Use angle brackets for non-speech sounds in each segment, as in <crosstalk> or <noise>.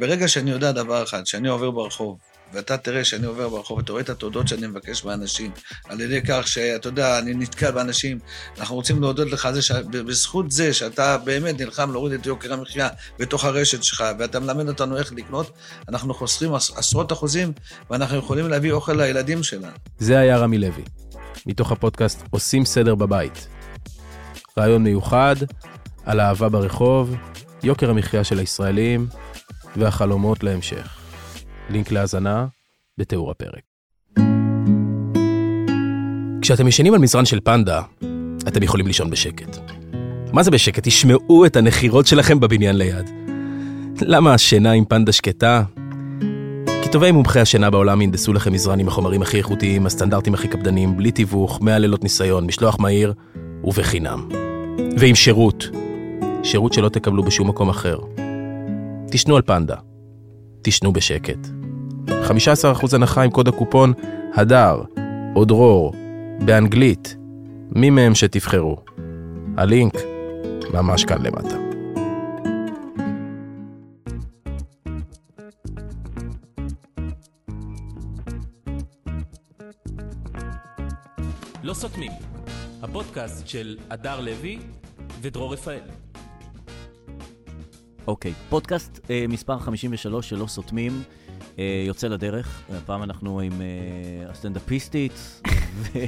ברגע שאני יודע דבר אחד, שאני עובר ברחוב, ואתה תראה שאני עובר ברחוב, אתה רואה את התודות שאני מבקש מאנשים, על ידי כך שאתה יודע, אני נתקל באנשים, אנחנו רוצים להודות לך על זה, בזכות זה שאתה באמת נלחם להוריד את יוקר המחיה בתוך הרשת שלך, ואתה מלמד אותנו איך לקנות, אנחנו חוסכים עשרות אחוזים, ואנחנו יכולים להביא אוכל לילדים שלנו. זה היה רמי לוי, מתוך הפודקאסט עושים סדר בבית. רעיון מיוחד על אהבה ברחוב, יוקר המחיה של הישראלים והחלומות להמשך. לינק להאזנה בתיאור הפרק. כשאתם ישנים על מזרן של פנדה, אתם יכולים לישון בשקט. מה זה בשקט? תשמעו את הנחירות שלכם בבניין ליד. למה השינה עם פנדה שקטה? כי טובי מומחי השינה בעולם ינדסו לכם מזרן עם החומרים הכי איכותיים, הסטנדרטים הכי קפדניים, בלי תיווך, 100 לילות ניסיון, משלוח מהיר ובחינם. ועם שירות. שירות שלא תקבלו בשום מקום אחר. תשנו על פנדה. תשנו בשקט. 15% הנחה עם קוד הקופון הדר או דרור באנגלית, מי מהם שתבחרו. הלינק ממש כאן למטה. לא סותמים, הפודקאסט של הדר לוי ודרור רפאל. אוקיי, פודקאסט אה, מספר 53 שלא סותמים, אה, יוצא לדרך. הפעם אנחנו עם אה, הסטנדאפיסטית. <laughs> ו-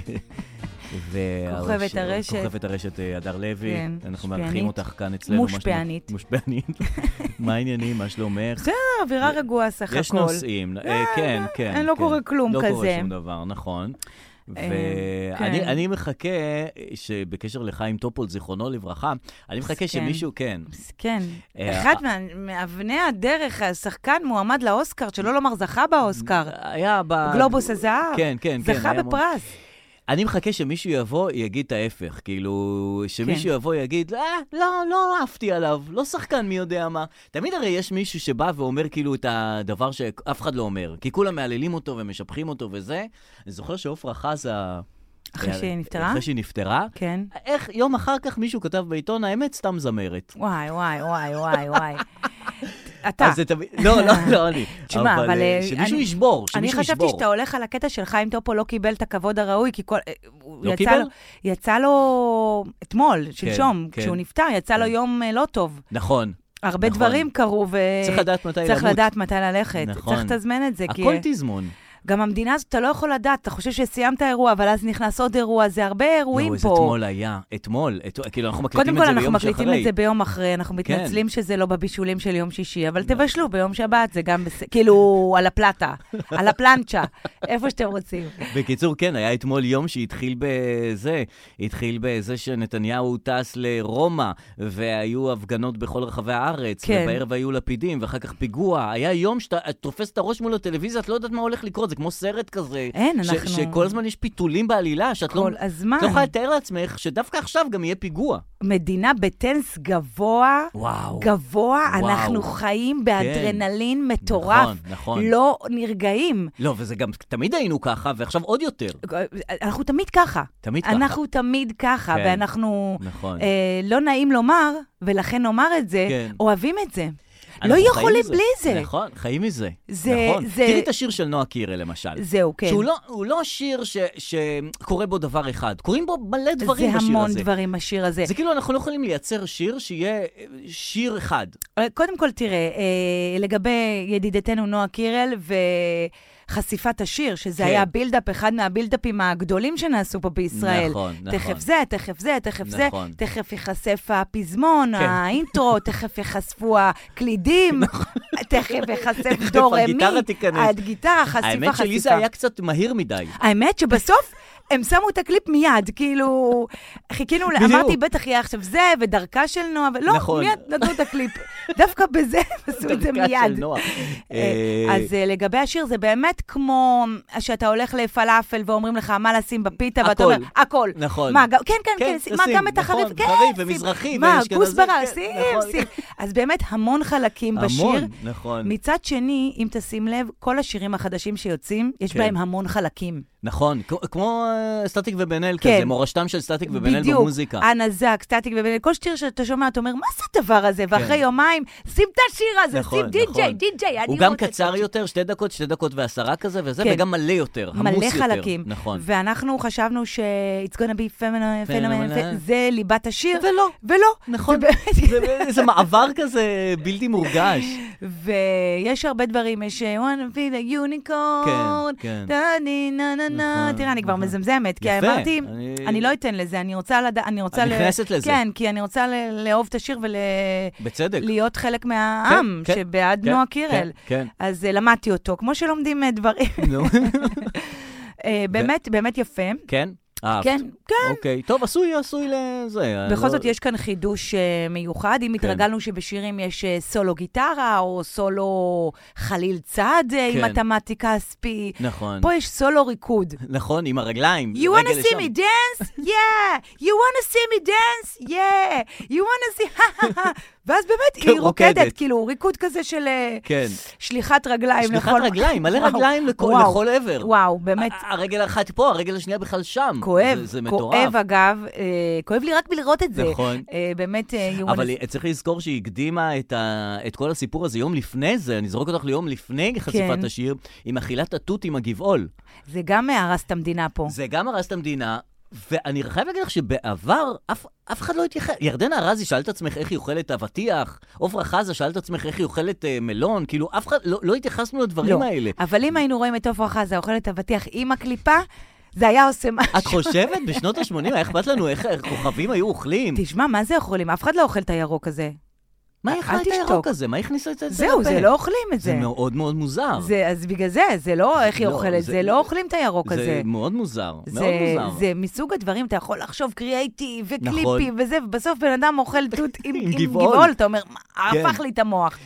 וה- כוכבת ש- הרשת. כוכבת הרשת אה, הדר לוי. כן, אנחנו משפיענית. מארחים אותך כאן אצלנו. מה שלומך? מושפענית. <laughs> מושפענית. מה העניינים? מה שלומך? בסך אווירה רגועה סך יש הכל. נושאים. אה, כן, כן. אין, לא כן. קורה כלום לא קורה כזה. שום דבר, נכון. אה, ואני כן. אני מחכה, אה, שבקשר לחיים טופול, זיכרונו לברכה, אני מחכה מסכן. שמישהו, כן, מסכן. אה, אחד אה. מה- מאבני הדרך, השחקן מועמד לאוסקר, שלא לומר זכה באוסקר. היה ב... גלובוס הזהב. אה, כן, כן, כן. זכה היה מאוד- בפרס. אני מחכה שמישהו יבוא, יגיד את ההפך. כאילו, שמישהו כן. יבוא, יגיד, אה, לא, לא עפתי עליו, לא שחקן מי יודע מה. תמיד הרי יש מישהו שבא ואומר כאילו את הדבר שאף אחד לא אומר. כי כולם מהללים אותו ומשבחים אותו וזה. אני זוכר שעופרה חזה... אחרי אה, שהיא נפטרה? אחרי שהיא נפטרה. כן. איך יום אחר כך מישהו כתב בעיתון, האמת, סתם זמרת. וואי, וואי, וואי, וואי, <laughs> וואי. אתה. אז זה תמיד... לא, <laughs> לא, לא אני. תשמע, אבל, אה, אה, שמישהו אני- ישבור, אני שמישהו חשבתי ישבור. שאתה הולך על הקטע של חיים טופו לא קיבל את הכבוד הראוי, כי כל... אה, הוא לא יצא קיבל? לו- יצא לו אתמול, שלשום, כן. כשהוא נפטר, יצא לו כן. יום אה, לא טוב. נכון. הרבה נכון. דברים קרו, ו... צריך לדעת מתי למות. אה, צריך לדעת מתי ללכת. נכון. צריך לתזמן את זה, כי... אה, הכל תזמון. גם המדינה הזאת, אתה לא יכול לדעת, אתה חושב שסיימת אירוע, אבל אז נכנס עוד אירוע, זה הרבה אירועים יואו, זה פה. לא, אתמול היה, אתמול. את- כאילו, אנחנו קודם מקליטים את כל, זה אנחנו ביום שאחרי. מקליטים את זה ביום אחרי, אנחנו כן. לא. מתנצלים שזה לא בבישולים של יום שישי, אבל תבשלו ביום שבת, זה גם בסדר, כאילו, על הפלטה, <laughs> על הפלנצ'ה, איפה שאתם רוצים. בקיצור, כן, היה אתמול יום שהתחיל בזה, התחיל בזה שנתניהו טס לרומא, והיו הפגנות בכל רחבי הארץ, כן. ובערב היו לפידים, ואחר כך פיגוע. היה יום שאתה את תופס את הראש מול הטלוויזיה, את לא יודעת מה הולך לקרות, זה כמו סרט כזה. אין, ש- אנחנו- שכל הזמן יש פיתולים בעלילה, שאת לא... כל הזמן. את לא יכולה לתאר לעצמך שדווקא עכשיו גם יהיה פיגוע. נכון, מדינה בטנס גבוה, וואו. גבוה, וואו. אנחנו חיים באדרנלין מטורף. נכון, נכון. לא נרגעים. לא, וזה גם, תמיד היינו ככה, ועכשיו עוד יותר. אנחנו תמיד ככה. תמיד ככה. אנחנו תמיד ככה, כן. ואנחנו, נכון. אה, לא נעים לומר, ולכן נאמר את זה, כן. אוהבים את זה. אנחנו לא חיים יכולים מזה. בלי זה. נכון, חיים מזה. זה- נכון. זה- תראי את השיר של נועה קירל, למשל. זהו, כן. שהוא לא, הוא לא שיר ש, שקורה בו דבר אחד, קורים בו מלא דברים זה בשיר המון הזה. דברים, השיר הזה. זה כאילו אנחנו לא יכולים לייצר שיר שיהיה אה, שיר אחד. אה, קודם כל, תראה, אה, לגבי ידידתנו נועה קירל וחשיפת השיר, שזה כן. היה בילדאפ, אחד מהבילדאפים הגדולים שנעשו פה בישראל. נכון, נכון. תכף זה, תכף זה, תכף זה, נכון. תכף ייחשף הפזמון, כן. <laughs> נכון. האינטרו, תכף ייחשפו הקלידים, תכף ייחשף דו רמי. הגיטרה תיכנס. הגיטרה, חשיפה, חשיפה. האמת שלי זה היה קצת מהיר <laughs> מדי. האמת שבסוף הם שמו את הקליפ מיד, כאילו, חיכינו, בדיוק. אמרתי, בטח יהיה עכשיו זה, ודרכה של נועה, ולא, נכון. מיד נתנו את הקליפ. דווקא בזה הם עשו את דרכה של זה מיד. נועה. <laughs> אה, אה, אז אה, לגבי השיר, זה באמת כמו שאתה הולך לפלאפל ואומרים לך מה לשים בפיתה, ואתה הכל. אומר, הכל. נכון. מה, גם- כן, כן, כן, כן, שים, מה, תשים, גם את נכון, החריף, כן, חריף שים. ומזרחי מה, ואשכנזי, כן, כוסברה, שים, נכון. שים. אז באמת המון חלקים בשיר. המון, נכון. מצד שני, אם תשים לב, כל השירים החדשים שיוצאים, יש כן. בהם המון חלקים. נכון, כמו- כמו אה, סטטיק ובן אל כן. כזה, מורשתם של סטטיק כן, ובן אל בדיוק, במוזיקה. הנזק, סטטיק ובן כל שיר שאתה שומע, אתה אומר, מה זה הדבר הזה? ואחרי יומיים, שים את השיר הזה, כן. נכון, שים די-ג'יי, נכון. די-ג'יי, אני הוא גם רוצה קצר את יותר, שתי דקות, שתי דקות ועשרה כזה, וזה, כן. וגם מלא יותר, עמוס מלא יותר. חלקים. נכון. ואנחנו חשבנו ש- it's gonna be phenomenal, Phenomenal. phenomenal, זה ליבת השיר. ולא. ולא. נכון. זה באמת- <laughs> זה- זה מעבר כזה בלתי מורגש. ויש הרבה דברים, יש אה, one feel a unicorn, כן, כן. דה ני נה נה נה, נכון, תראה, אני כבר נכון. מזמזמת, כי יפה, אמרתי, אני- אני לא אתן לזה, אני רוצה לדעת, אני רוצה... את ל- נכנסת לזה. כן, כי אני רוצה ל- לאהוב את השיר בצדק. ולהיות חלק מהעם, כן, שבעד כן, נועה כן, קירל. כן. אז אה, למדתי אותו, כמו שלומדים אה, דברים. <laughs> נו. <laughs> אה, באמת, באמת יפה. כן? אהבת. כן, כן. אוקיי. טוב, עשוי, עשוי לזה. בכל לא- כן. זאת, יש כאן חידוש אה, מיוחד. אם התרגלנו שבשירים יש אה, סולו גיטרה, או סולו חליל צד אה, עם כן. מתמטיקה כספי, נכון. פה יש סולו ריקוד. נכון, עם הרגליים. You רגל wanna see לשם. <laughs> me dance? Yeah. You wanna see me dance? Yeah. You wanna see... <laughs> ואז באמת כן, היא רוקדת, רוקדת. כאילו, ריקוד כזה של אה, כן. שליחת רגליים. שליחת לכל- רגליים, מלא וואו, רגליים לכל- וואו, לכל עבר. וואו, באמת. ה- אה, הרגל האחת פה, הרגל השנייה בכלל שם. כואב, זה- זה מטורף. כואב אגב, אה, כואב לי רק מלראות את זה. נכון. אה, באמת, אה, you wanna אבל צריך לזכור שהיא הקדימה את, ה... את כל הסיפור הזה יום לפני זה, אני זורק אותך ליום לפני חשיפת כן. השיר, עם אכילת התות עם הגבעול. זה גם הרס את המדינה פה. זה גם הרס את המדינה, ואני חייב להגיד לך שבעבר אף, אף אחד לא התייחס. ירדנה ארזי שאל את עצמך איך היא אוכלת אבטיח, עפרה חזה שאל את עצמך איך היא אוכלת אה, מלון, כאילו אף אחד, לא, לא התייחסנו לדברים לא. האלה. אבל אם היינו רואים את עפרה חזה אוכלת אבטיח עם הקליפה, זה היה עושה משהו. את חושבת בשנות ה-80 היה אכפת לנו איך הכוכבים היו אוכלים? תשמע, מה זה אוכלים? אף אחד לא אוכל את הירוק הזה. מה אל יכלה את הירוק תשתוק. הזה? מה הכניסה את זה לפה? זהו, זה לא אוכלים את זה זה. מאוד מאוד מוזר. זה, אז בגלל זה, זה לא איך היא לא, אוכלת, זה- זה לא אוכלים את הירוק זה הזה. מאוד מוזר, מאוד זה, מוזר. זה מסוג הדברים, אתה יכול לחשוב קריאייטיב וקליפי נכון. וזה, ובסוף בן אדם אוכל תות <laughs> עם, עם עם גבעול. גבעול, אתה אומר, "מה, כן. הפך לי את המוח.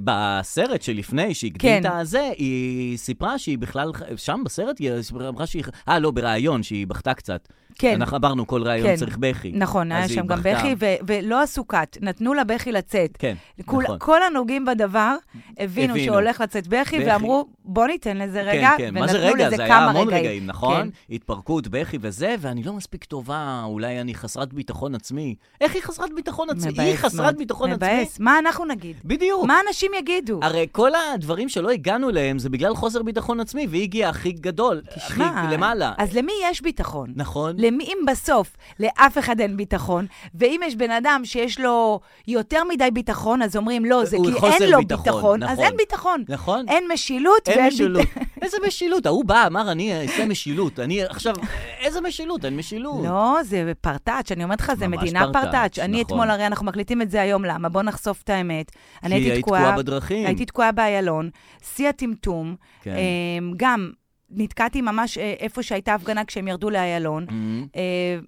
ובסרט שלפני, שהקדים כן. את הזה, היא סיפרה שהיא בכלל, שם בסרט היא סיפרה- אמרה שהיא, אה, לא, בריאיון, שהיא בכתה קצת. כן. אנחנו אמרנו, כל ריאיון כן. צריך בכי. נכון, אז היה היא שם גם בכתה. בכי, ו- ולא עשו קאט, נתנו לבכי לצאת. כן, כל, נכון. כל הנוגעים בדבר הבינו, הבינו. שהולך לצאת בכי, בכי. ואמרו, בוא ניתן לזה רגע, כן, כן, מה זה ונתנו רגע? לזה זה היה כמה המון רגעים. כן. רגעים, נכון? התפרקות, בכי וזה, ואני לא מספיק טובה, אולי אני חסרת ביטחון עצמי. איך היא חסרת ביטחון עצמי? היא כן. מבאס מאוד. חסרת ביטחון עצמי? מבאס, מה אנחנו נגיד? בדיוק. מה אנשים יגידו? הרי כל הדברים שלא הגענו אליהם זה בגלל חוסר ביטחון עצמי, והיא הגיעה הכי גדול, הכי שמע, למעלה. אז למי יש ביטחון? נכון? למי, אם בסוף לאף אחד אין ביטחון, ואם יש בן אדם שיש לו יותר מדי ביטחון, אז אומרים, לא, זה הוא כי חוסר אין לו ביטחון, ביטחון, אז נכון. אין ביטחון. נכון? אין משילות אין ואין משילות. ביטחון. <laughs> איזה משילות? ההוא בא, אמר, אני אעשה משילות. אני עכשיו, איזה משילות? אין משילות. לא, זה פרטאץ', אני אומרת לך, זה ממש מדינה פרטאץ', פרטאץ'. נכון. אני אתמול, הרי אנחנו מקליטים את זה היום, למה? בוא נחשוף את האמת. אני הייתי היית תקועה... תקועה בדרכים. הייתי תקועה באיילון, שיא הטמטום. כן. אמ, גם נתקעתי ממש אה, איפה שהייתה הפגנה כשהם ירדו לאיילון. אמ, אה,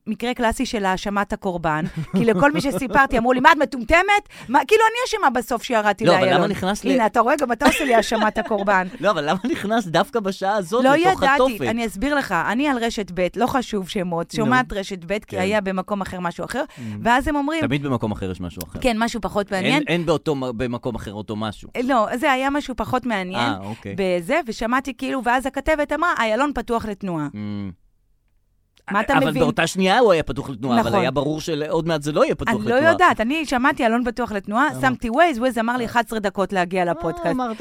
מקרה קלאסי של האשמת הקורבן, <laughs> כי לכל מי שסיפרתי אמרו לי, מה, את מטומטמת? מה, כאילו, אני אשמה בסוף שירדתי לא, לאיילון. אבל למה נכנס ל- הנה, אתה רואה, גם אתה עושה לי <laughs> האשמת הקורבן. לא, אבל למה נכנס דווקא בשעה הזאת לא לתוך התופת? ידעתי, אני אסביר לך, אני על רשת ב', לא חשוב שמות, שומעת רשת ב', כי כן. היה במקום אחר משהו אחר, ואז הם אומרים, Mm-hmm. תמיד במקום אחר יש משהו אחר. כן, משהו פחות מעניין. אין- אין באותו מ- במקום אחר אותו משהו. לא, זה היה משהו פחות מעניין אה, אוקיי. בזה, ושמעתי כאילו, ואז הכתבת אמרה, איילון פתוח לתנועה. אמ, מה אתה אבל מבין? באותה שנייה הוא היה פתוח לתנועה, אבל נכון. היה ברור שעוד מעט זה לא יהיה פתוח אני לא לתנועה. יודעת, אני שמעתי אלון בטוח לתנועה, שמתי ווייז, ווייז אמר לי 11 דקות להגיע אה, לפודקאסט. <laughs> אמרת...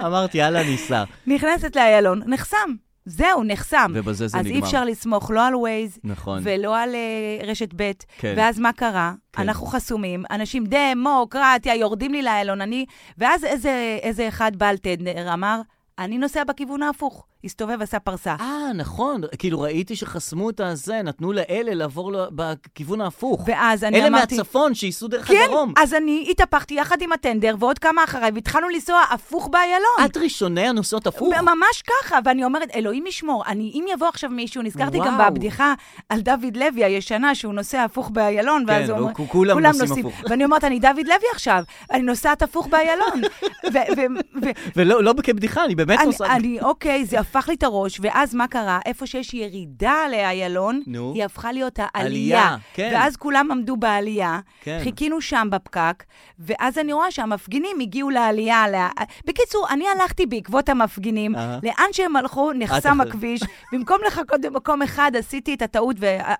אמרת, יאללה, ניסע. <laughs> נכנסת לאיילון, נחסם. זהו, נחסם. ובזה זה אז אי נגמר. אפשר לסמוך לא על ווייז נכון. ולא על אה, רשת ב', כן. ואז מה קרה? כן. אנחנו חסומים, אנשים דמוקרטיה, יורדים לי לאיילון, אני... ואז איזה- איזה אחד בעל טנדר אמר, אני נוסע בכיוון ההפוך. הסתובב, עשה פרסה. אה, נכון, כאילו ראיתי שחסמו את הזה, נתנו לאלה לעבור לו- בכיוון ההפוך. ואז אני אלה אמרתי... מהצפון שייסעו דרך כן, הדרום. אז אני התהפכתי יחד עם הטנדר ועוד כמה אחריי, והתחלנו לנסוע הפוך באיילון. את ראשוני הנוסעות הפוך. ממש ככה, ואני אומרת, אלוהים ישמור, אני, אם יבוא עכשיו מישהו, נזכרתי גם וואו. בבדיחה על דוד לוי הישנה, שהוא נוסע הפוך באיילון, כן, ואז הוא והוא- אומר, כו- כולם נוסעים הפוך. ואני אומרת, אני דוד לוי עכשיו, אני <laughs> נוסעת הפוך באיילון. ו- ו- ו- ולא לא כבדיחה, אני באמת אני- נוסעת. אני, אוקיי, זה הפך לי את הראש, ואז מה קרה? איפה שיש ירידה לאיילון, נו. היא הפכה להיות העלייה. עלייה, כן. ואז כולם עמדו בעלייה, כן. חיכינו שם בפקק, ואז אני רואה שהמפגינים הגיעו לעלייה. לה... בקיצור, אני הלכתי בעקבות המפגינים, אהה. לאן שהם הלכו, נחסם אחרי. הכביש. במקום לחכות במקום אחד, עשיתי את הטעות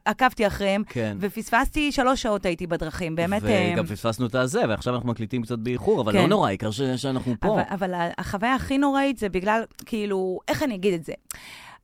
ועקבתי אחריהם, כן. ופספסתי שלוש שעות הייתי בדרכים, באמת... אה, וגם פספסנו את הזה, ועכשיו אנחנו מקליטים קצת באיחור, אבל כן. לא נורא, העיקר ש- שאנחנו פה. אבל, אבל ה- החוויה הכי נוראית זה בגלל, כאילו, איך אני אגיד את זה?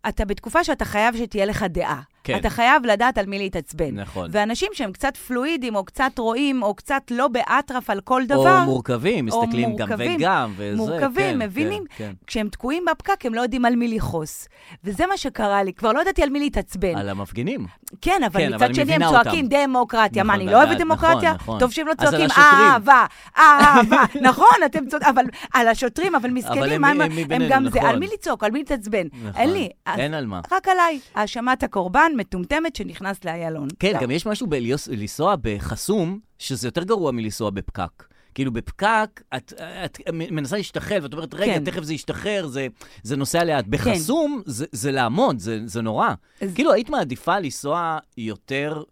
אתה בתקופה שאתה חייב שתהיה לך דעה. כן. אתה חייב לדעת על מי להתעצבן. נכון. ואנשים שהם קצת פלואידים, או קצת רואים, או קצת לא באטרף על כל או דבר, מורכבים, או מסתכלים גם מורכבים, וגם, וזה, מורכבים, כן, מבינים? כן, כשהם תקועים בפקק, הם לא יודעים על מי לכעוס. וזה מה שקרה לי, כבר לא ידעתי על מי להתעצבן. כן. על המפגינים. כן, אבל כן, מצד אבל אני שני הם מבינה צועקים דמוקרטיה. מה, נכון, אני לא אוהבת לדעת, נכון, דמוקרטיה? נכון. טוב שהם לא אז על צועקים השוטרים. אהבה, אהבה. <laughs> נכון, אתם צודקים, אבל על השוטרים, אבל הם מסכנים, מי- מה הם הם מי הם בינינו, גם זה, על נכון. מי לצעוק, על מי להתעצבן. נכון. אין לי. אז אין על מה. רק עליי, האשמת הקורבן, מטומטמת, שנכנסת לאיילון. לא. כן, גם יש משהו בלנסוע בחסום, שזה יותר גרוע מלנסוע בפקק. כאילו בפקק, את, את מנסה להשתחל, ואת אומרת, רגע, כן. תכף זה ישתחרר, זה, זה נוסע לאט. בחסום, זה, זה לעמוד, זה, זה נורא. אז- כאילו, היית מעדיפה לנסוע יותר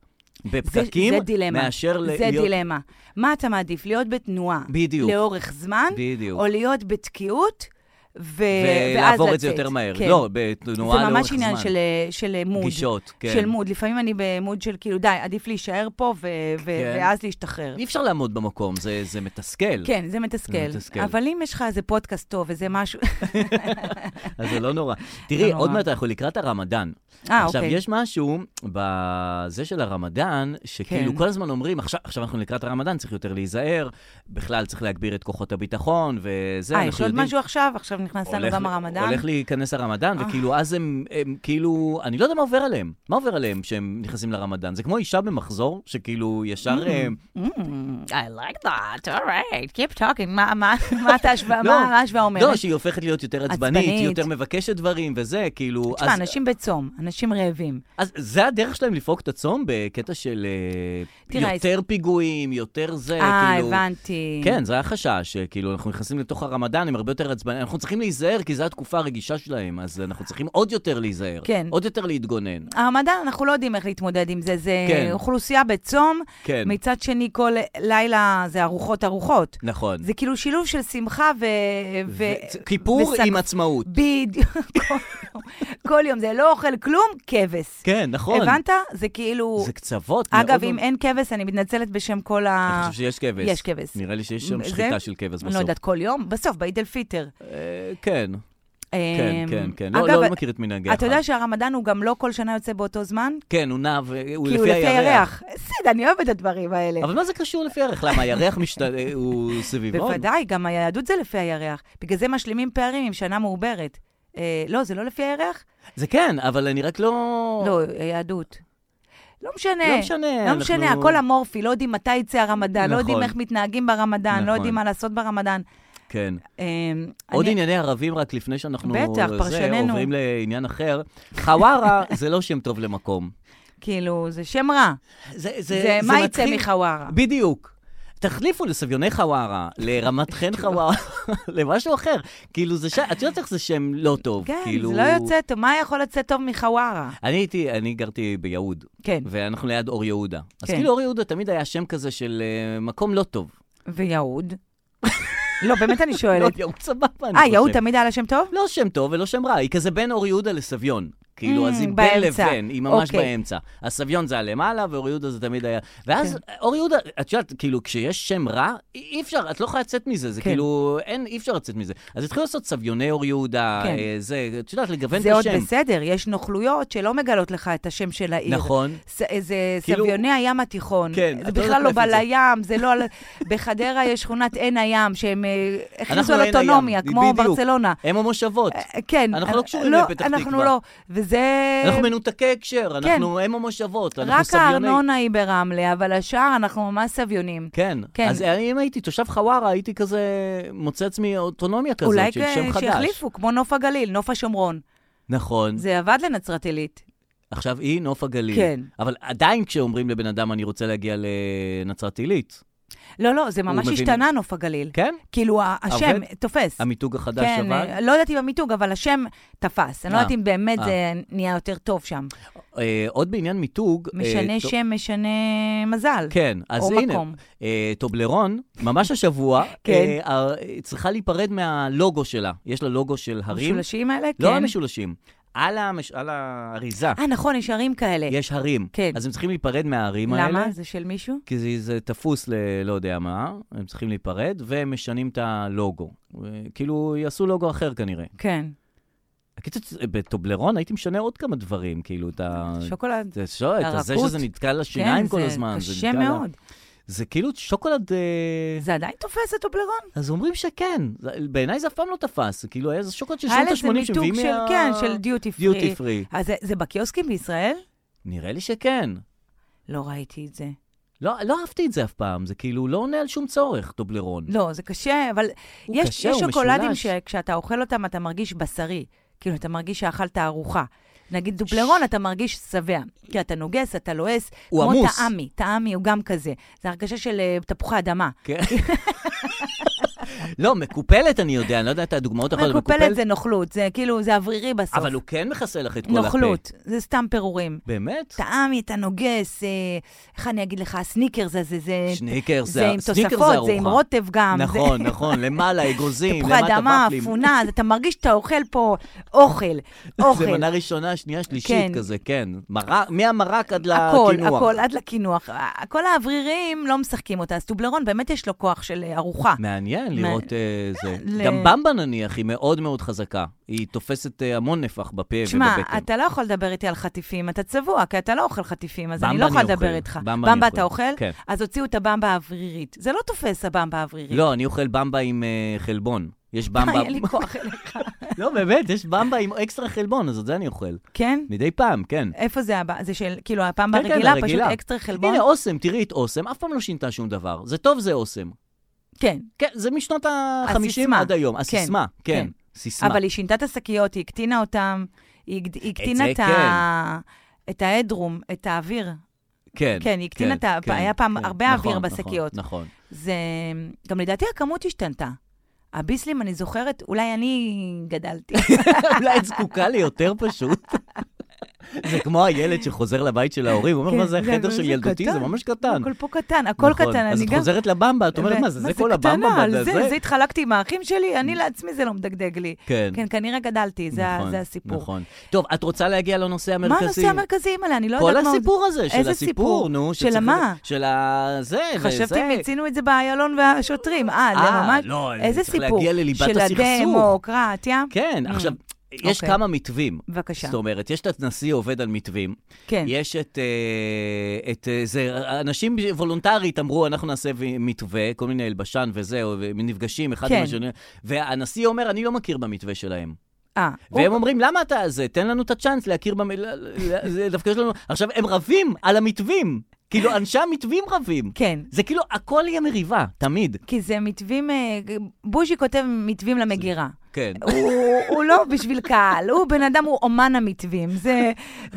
בפקקים, זה דילמה. מאשר ל- זה דילמה. מה אתה מעדיף, להיות בתנועה? בדיוק. לאורך זמן? בדיוק. או להיות בתקיעות? ו... ואז ולעבור את זה לצאת? יותר מהר. כן. לא, בתנועה זה לאורך זמן. ממש עניין של, אה, של אה, מוד. גישות, כן. של מוד. לפעמים אני במוד של כאילו, די, עדיף להישאר פה ו- ו- כן. ואז להשתחרר. אי אפשר לעמוד במקום, זה, זה מתסכל. כן, זה מתסכל. זה מתסכל. אבל אם יש לך איזה פודקאסט טוב, איזה משהו... <laughs> אז זה לא נורא. תראי, נורא. עוד מעט אנחנו לקראת הרמדאן. אה, עכשיו, אוקיי. יש משהו בזה של הרמדאן, שכאילו כן. כל הזמן אומרים, עכשיו, עכשיו אנחנו לקראת הרמדאן, צריך יותר להיזהר, בכלל צריך להגביר את כוחות הביטחון, וזה, אה, אנחנו יש עוד יודעים- משהו עכשיו? עכשיו נכנס לנו הולך- גם הרמדאן? הולך להיכנס הרמדאן, אה. וכאילו אז הם, הם כאילו, אני לא יודע מה עובר עליהם. מה עובר עליהם כשהם נכנסים לרמדאן? זה כמו אישה במחזור, שכאילו ישר... אה, Mm, I like that, all right, keep talking. מה- <laughs> מה מה אתה השוואה- מה ההשוואה אומרת? לא, שהיא הופכת להיות יותר עצבנית, היא עצבנית. יותר מבקשת דברים וזה, כאילו... תשמע, אז- אנשים בצום, אנשים רעבים. אז זה הדרך שלהם לפרוק את הצום בקטע של אה, תראה, יותר פיגועים, יותר זה, אה, כאילו... הבנתי. כן, זה היה חשש, כאילו, אנחנו נכנסים לתוך הרמדאן, הם הרבה יותר עצבנים, אנחנו צריכים להיזהר, כי זו התקופה הרגישה שלהם, אז אנחנו צריכים עוד יותר להיזהר. כן. עוד יותר להתגונן. הרמדאן, אנחנו לא יודעים איך להתמודד עם זה. זה כן. אוכלוסייה בצום, כן, מצד שני, כל לילה זה ארוחות ארוחות. נכון. זה כאילו שילוב של שמחה ו... ו... ו- כיפור וסק- עם עצמאות. בדיוק, כל יום. כל יום. זה לא אוכל כלום, כבש. כן, נכון. הבנת? זה כאילו... זה קצוות. מאוד אגב, אם מאוד- אין כבש, אני מתנצלת בשם כל אני ה... חושב שיש כבש. יש כבש. נראה לי שיש שם זה- שחיטה של כבש אני לא בסוף. יודעת, כל יום? בסוף, בעיד אל פיטר. אה, כן, כן, אמ, כן, כן. לא אגב, לא מכיר את מנהגי אתה יודע שהרמדאן הוא גם לא כל שנה יוצא באותו זמן? כן, הוא נע, ו- הוא כי הוא לפי הירח. בסדר, אני אוהבת את הדברים האלה. אבל מה זה קשור לפי הירח? למה, הירח משת... אה, הוא סביבון? בוודאי, גם היהדות זה לפי הירח. בגלל זה משלימים פערים עם שנה מעוברת. אה, לא, זה לא לפי הירח? זה כן, אבל אני רק לא... לא, היהדות. לא משנה. לא משנה. לא משנה, אנחנו- הכל אמורפי, לא יודעים מתי יצא הרמדאן, לא נכון. יודעים איך מתנהגים ברמדאן, לא נכון. יודעים מה לעשות ברמדאן. כן. אה, עוד אני- ענייני ערבים, רק לפני שאנחנו... בטח, זה, פרשננו. עוברים לעניין אחר. חווארה <laughs> זה לא שם טוב למקום. כאילו, זה שם רע. זה מה יצא מתחיל- מחווארה. בדיוק. תחליפו לסביוני חווארה, לרמת <laughs> חן חווארה, <laughs> למשהו אחר. כאילו, זה שם, את יודעת איך זה שם לא טוב. כן, כאילו... זה לא יוצא טוב, מה יכול לצאת טוב מחווארה? אני הייתי, אני גרתי ביהוד, כן, ואנחנו ליד אור יהודה. אז כן. כאילו אור יהודה תמיד היה שם כזה של אה, מקום לא טוב. ויהוד? לא, באמת אני לא, שואלת. יהוד סבבה, אני אה, יהוד חושב. תמיד היה לה שם טוב? לא שם טוב ולא שם רע, היא כזה בין אור יהודה לסביון. כאילו, Mm, אז היא בין באמצע. לבין, היא ממש אוקיי. כן. באמצע. הסביון זה הלמעלה, ואור יהודה זה תמיד היה... ואז אור יהודה, את יודעת, כאילו, כשיש שם רע, אי אי אפשר, את לא יכולה לצאת מזה, זה כן. כאילו, אין, אי אפשר לצאת מזה. אז התחילו לעשות סביוני אור יהודה, כן. אה, זה, את יודעת, לגוון את זה עוד השם. בסדר, יש נוכלויות שלא מגלות לך את השם של העיר. נכון. ס- אה, זה כאילו- סביוני הים התיכון. כן, זה את לא בכלל לא יודעת בא מאיפה זה. לים, זה לא... על- <laughs> בחדרה יש שכונת עין הים, שהם אה, הכניסו אנחנו על עין הים, אוטונומיה, כמו בדיוק. ברצלונה. הם המושבות. אה, כן. אנחנו אה, לא קשורים לפתח אנחנו תקווה. לא. וזה... אנחנו מנותקי הקשר, אנחנו הם המושבות, אנחנו אה, כן. רק סביוני. הארנונה היא ברמלה, אבל השאר אנחנו ממש סביונים. כן. כן. אז אני- אם הייתי תושב חווארה, הייתי כזה מוצא עצמי אוטונומיה כזאת, אולי של שם כ- חדש. שיחליפו, כמו נוף הגליל, נוף השומרון. נכון. זה עבד לנצרת עילית. עכשיו היא נוף הגליל. כן. אבל עדיין כשאומרים לבן אדם, אני רוצה להגיע לנצרת עילית, לא, לא, זה ממש מבין- השתנה, נוף הגליל. <laughs> כן? כאילו, ה- השם עובד? תופס. המיתוג החדש כן, עבד? אה, לא יודעת אם המיתוג, אבל השם תפס. אני לא אה, יודעת אם באמת אה. זה נהיה יותר טוב שם. אה, עוד בעניין מיתוג... אה, משנה טוב- שם, משנה מזל. כן, אז או הנה, מקום. אה, טובלרון, ממש השבוע, <laughs> כן. אה, אה, צריכה להיפרד מהלוגו שלה. יש לה לוגו של הרים. המשולשים האלה? לא כן. המשולשים, על המש- על האריזה אה, נכון, יש ערים כאלה. יש הרים. כן. אז הם צריכים להיפרד מההרים האלה. למה? זה של מישהו? כי זה, זה תפוס ללא יודע מה, הם צריכים להיפרד, והם משנים את הלוגו. אה, כאילו, יעשו לוגו אחר כנראה. כן. הקיצוץ, בטובלרון הייתי משנה עוד כמה דברים, כאילו, את ה... שוקולד. זה שואל, את זה הרכות. שזה נתקע לשיניים כן, כל זה הזמן. קשה נתקע לה- מאוד. זה כאילו שוקולד... אה, זה עדיין תופס את טובלרון? אז אומרים שכן. זה- בעיניי זה אף פעם לא תפס. זה כאילו, היה איזה שוקולד של היה שנות ה-80 לזה מיתוג שמביאים של, מה... כן, של דיוטי פרי. דיוטי פרי. אז זה- זה בקיוסקים בישראל? נראה לי שכן. לא ראיתי את זה. לא, לא אהבתי את זה אף פעם, זה כאילו לא עונה על שום צורך, טובלרון. לא, זה קשה, אבל הוא יש, קשה, יש הוא שוקולדים משולש. שכשאתה אוכל אותם אתה מרגיש בשרי. כאילו, אתה מרגיש שאכלת ארוחה. נגיד דובלרון, אתה מרגיש שבע. כי אתה נוגס, אתה לועס. הוא עמוס. כמו טעמי, טעמי הוא גם כזה. זה הרגשה של אה, תפוחי אדמה. כן. לא, מקופלת אני יודע, אני לא יודע את הדוגמאות האחרות, מקופלת זה נוכלות, זה כאילו, זה אוורירי בסוף. אבל הוא כן מכסה לך את כל הפה. נוכלות, זה סתם פירורים. באמת? טעמי, אתה נוגס, אה, איך אני אגיד לך, הסניקרס הזה, זה... שניקר זה... אה, זה עם סניקר תוספות, זה ארוחה. עם רוטב גם. זה- נכון, נכון, למעלה אגוזים, תפוחי למטה אדמה, ופלים. אפונה, אז אתה מרגיש שאתה אוכל פה אוכל, <laughs> אוכל. זה מנה ראשונה, שנייה, כן. שלישית כזה, כן. מרק- מהמרק עד הכל, לקינוח. הכל, עד לקינוח. ה- כל האוורירים לא משחקים אותה, אז טובלרון באמת יש לו כוח של אה, ארוחה. מעניין מה- לראות אה, זה. ל- גם במבה נניח, היא מאוד מאוד חזקה. היא תופסת אה, המון נפח בפה תשמע, ובבטן. אתה לא יכול לדבר איתי על חטיפים, אתה צבוע, כי אתה לא אוכל חטיפים, אז אני במבה לא יכולה אני לדבר אוכל, איתך. במבה אני במבה אוכל, אתה אוכל? כן. אז הוציאו את הבמבה האוורירית. זה לא תופס, הבמבה האוורירית. <laughs> לא, אני אוכל במבה עם אה, חלבון. יש במבה... אין לי כוח אליך. לא, באמת, יש במבה עם אקסטרה חלבון, אז את זה אני אוכל. כן? מדי פעם, כן. איפה זה הבא? זה של, כאילו, הפעם כן, כן, ברגילה, פשוט הרגילה. אקסטרה חלבון? הנה, אוסם, תראי את אוסם, אף פעם לא שינתה שום דבר. זה טוב, זה אוסם. כן. כן, זה משנות ה-50 הסיסמה. עד היום. כן, הסיסמה, כן. כן. סיסמה. אבל היא שינתה את השקיות, היא הקטינה אותם, היא הגד- היא הקטינה זה את ה... את ההדרום, את האוויר. כן, כן, היא הקטינה את ה- היה פעם הרבה נכון, אוויר נכון, בשקיות. נכון. זה... גם לדעתי הכמות השתנתה. הביסלים, אני זוכרת, אולי אני <laughs> גדלתי. כן. נכון. אולי את זקוקה לי יותר פשוט. <laughs> זה כמו הילד שחוזר לבית של ההורים, הוא אומר, כן, מה זה זה- החדר זה של ילדותי? קטן. זה ממש קטן. הכל פה קטן, הכל נכון. קטן, אני גם... אז את חוזרת לבמבה, את אומרת, ו- מה זה, זה כל הבמבה? קטנה, מה על זה, זה התחלקתי עם האחים שלי, <laughs> אני לעצמי זה לא מדגדג לי. כן. כן, כנראה גדלתי, זה, ה- נכון, זה הסיפור. נכון. טוב, את רוצה להגיע לנושא המרכזי? מה הנושא המרכזיים האלה? אני לא כל יודעת מה... עוד- הסיפור הזה, של איזה הסיפור, סיפור? נו. של שצריך- המה? של ה... זה, וזה. חשבתי, מיצינו את זה באיילון והשוטרים. אה, זה אה, ממש... לא, איזה צריך סיפור? להגיע לליבת של הסכסוך. הדמוקרטיה? כן, Mm. עכשיו, יש אוקיי. כמה מתווים. בבקשה. זאת אומרת, יש את הנשיא עובד על מתווים, כן. יש את... אה, את אה, זה, אנשים וולונטרית אמרו, אנחנו נעשה ו- מתווה, כל מיני אלבשן וזהו, ונפגשים אחד עם כן. השני, והנשיא אומר, אני לא מכיר במתווה שלהם. אה, והם הוא- אומרים, למה אתה זה? תן לנו את הצ'אנס להכיר במ... ל- ל- זה דווקא יש לנו... עכשיו, הם רבים על המתווים. כאילו, אנשי המתווים רבים. כן. זה כאילו, הכל יהיה מריבה, תמיד. כי זה מתווים, אה, בוז'י כותב מתווים למגירה. <laughs> כן. הוא, הוא לא בשביל קהל, הוא בן אדם, הוא אומן המתווים. זה,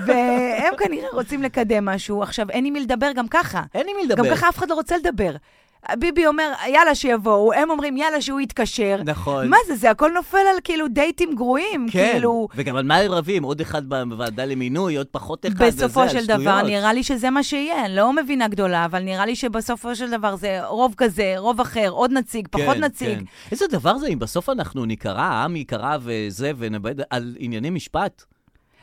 והם כנראה רוצים לקדם משהו. עכשיו, אין עם מי לדבר גם ככה. אין עם מי גם לדבר. ככה אף אחד לא רוצה לדבר. ביבי אומר, יאללה שיבואו, הם אומרים, יאללה שהוא יתקשר. נכון. מה זה, זה הכל נופל על כאילו דייטים גרועים, כן, כאילו... וגם על מה הם רבים? עוד אחד בוועדה למינוי, עוד פחות אחד, וזה, בסופו של השטויות. דבר, נראה לי שזה מה שיהיה, אני לא מבינה גדולה, אבל נראה לי שבסופו של דבר זה רוב כזה, רוב אחר, עוד נציג, פחות כן, כן. נציג. איזה דבר זה אם בסוף אנחנו ניקרע, העם ייקרע וזה, ונאבד על ענייני משפט?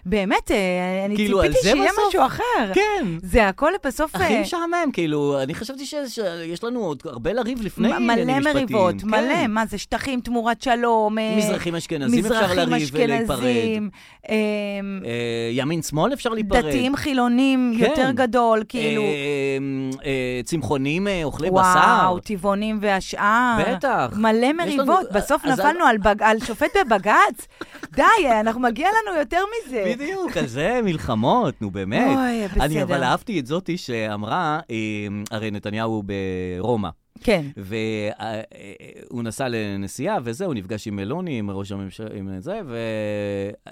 באמת, אה, אני כאילו, על ציפיתי זה שיהיה בסוף? משהו אחר. כן. זה הכל בסוף... הכי אה, משעמם, כאילו, אני חשבתי ש- שיש לנו עוד הרבה לריב לפני מ- עניינים מלא משפטיים. מריבות, כן. מלא, מה זה, שטחים תמורת שלום. אה, מזרחים אשכנזים אפשר מזרחים לריב ולהיפרד. אשכנזים, אמ, אה, ימין שמאל אפשר להיפרד. דתיים חילונים כן. יותר גדול, כאילו, אה, אה, צמחונים אה, אוכלי בשר. וואו, טבעונים והשאר. בטח. מלא יש מריבות, לנו- אה, בסוף אז- נפלנו על בג- על שופט <laughs> בבג"ץ. די, אנחנו מגיע לנו יותר מזה. בדיוק, על זה מלחמות, נו באמת. אוי, אני בסדר. אבל אהבתי את זאתי שאמרה, אה, הרי נתניהו ברומא, כן, והוא נסע לנסיעה וזה, הוא נפגש עם מלוני, עם ראש הממשלה, עם זה,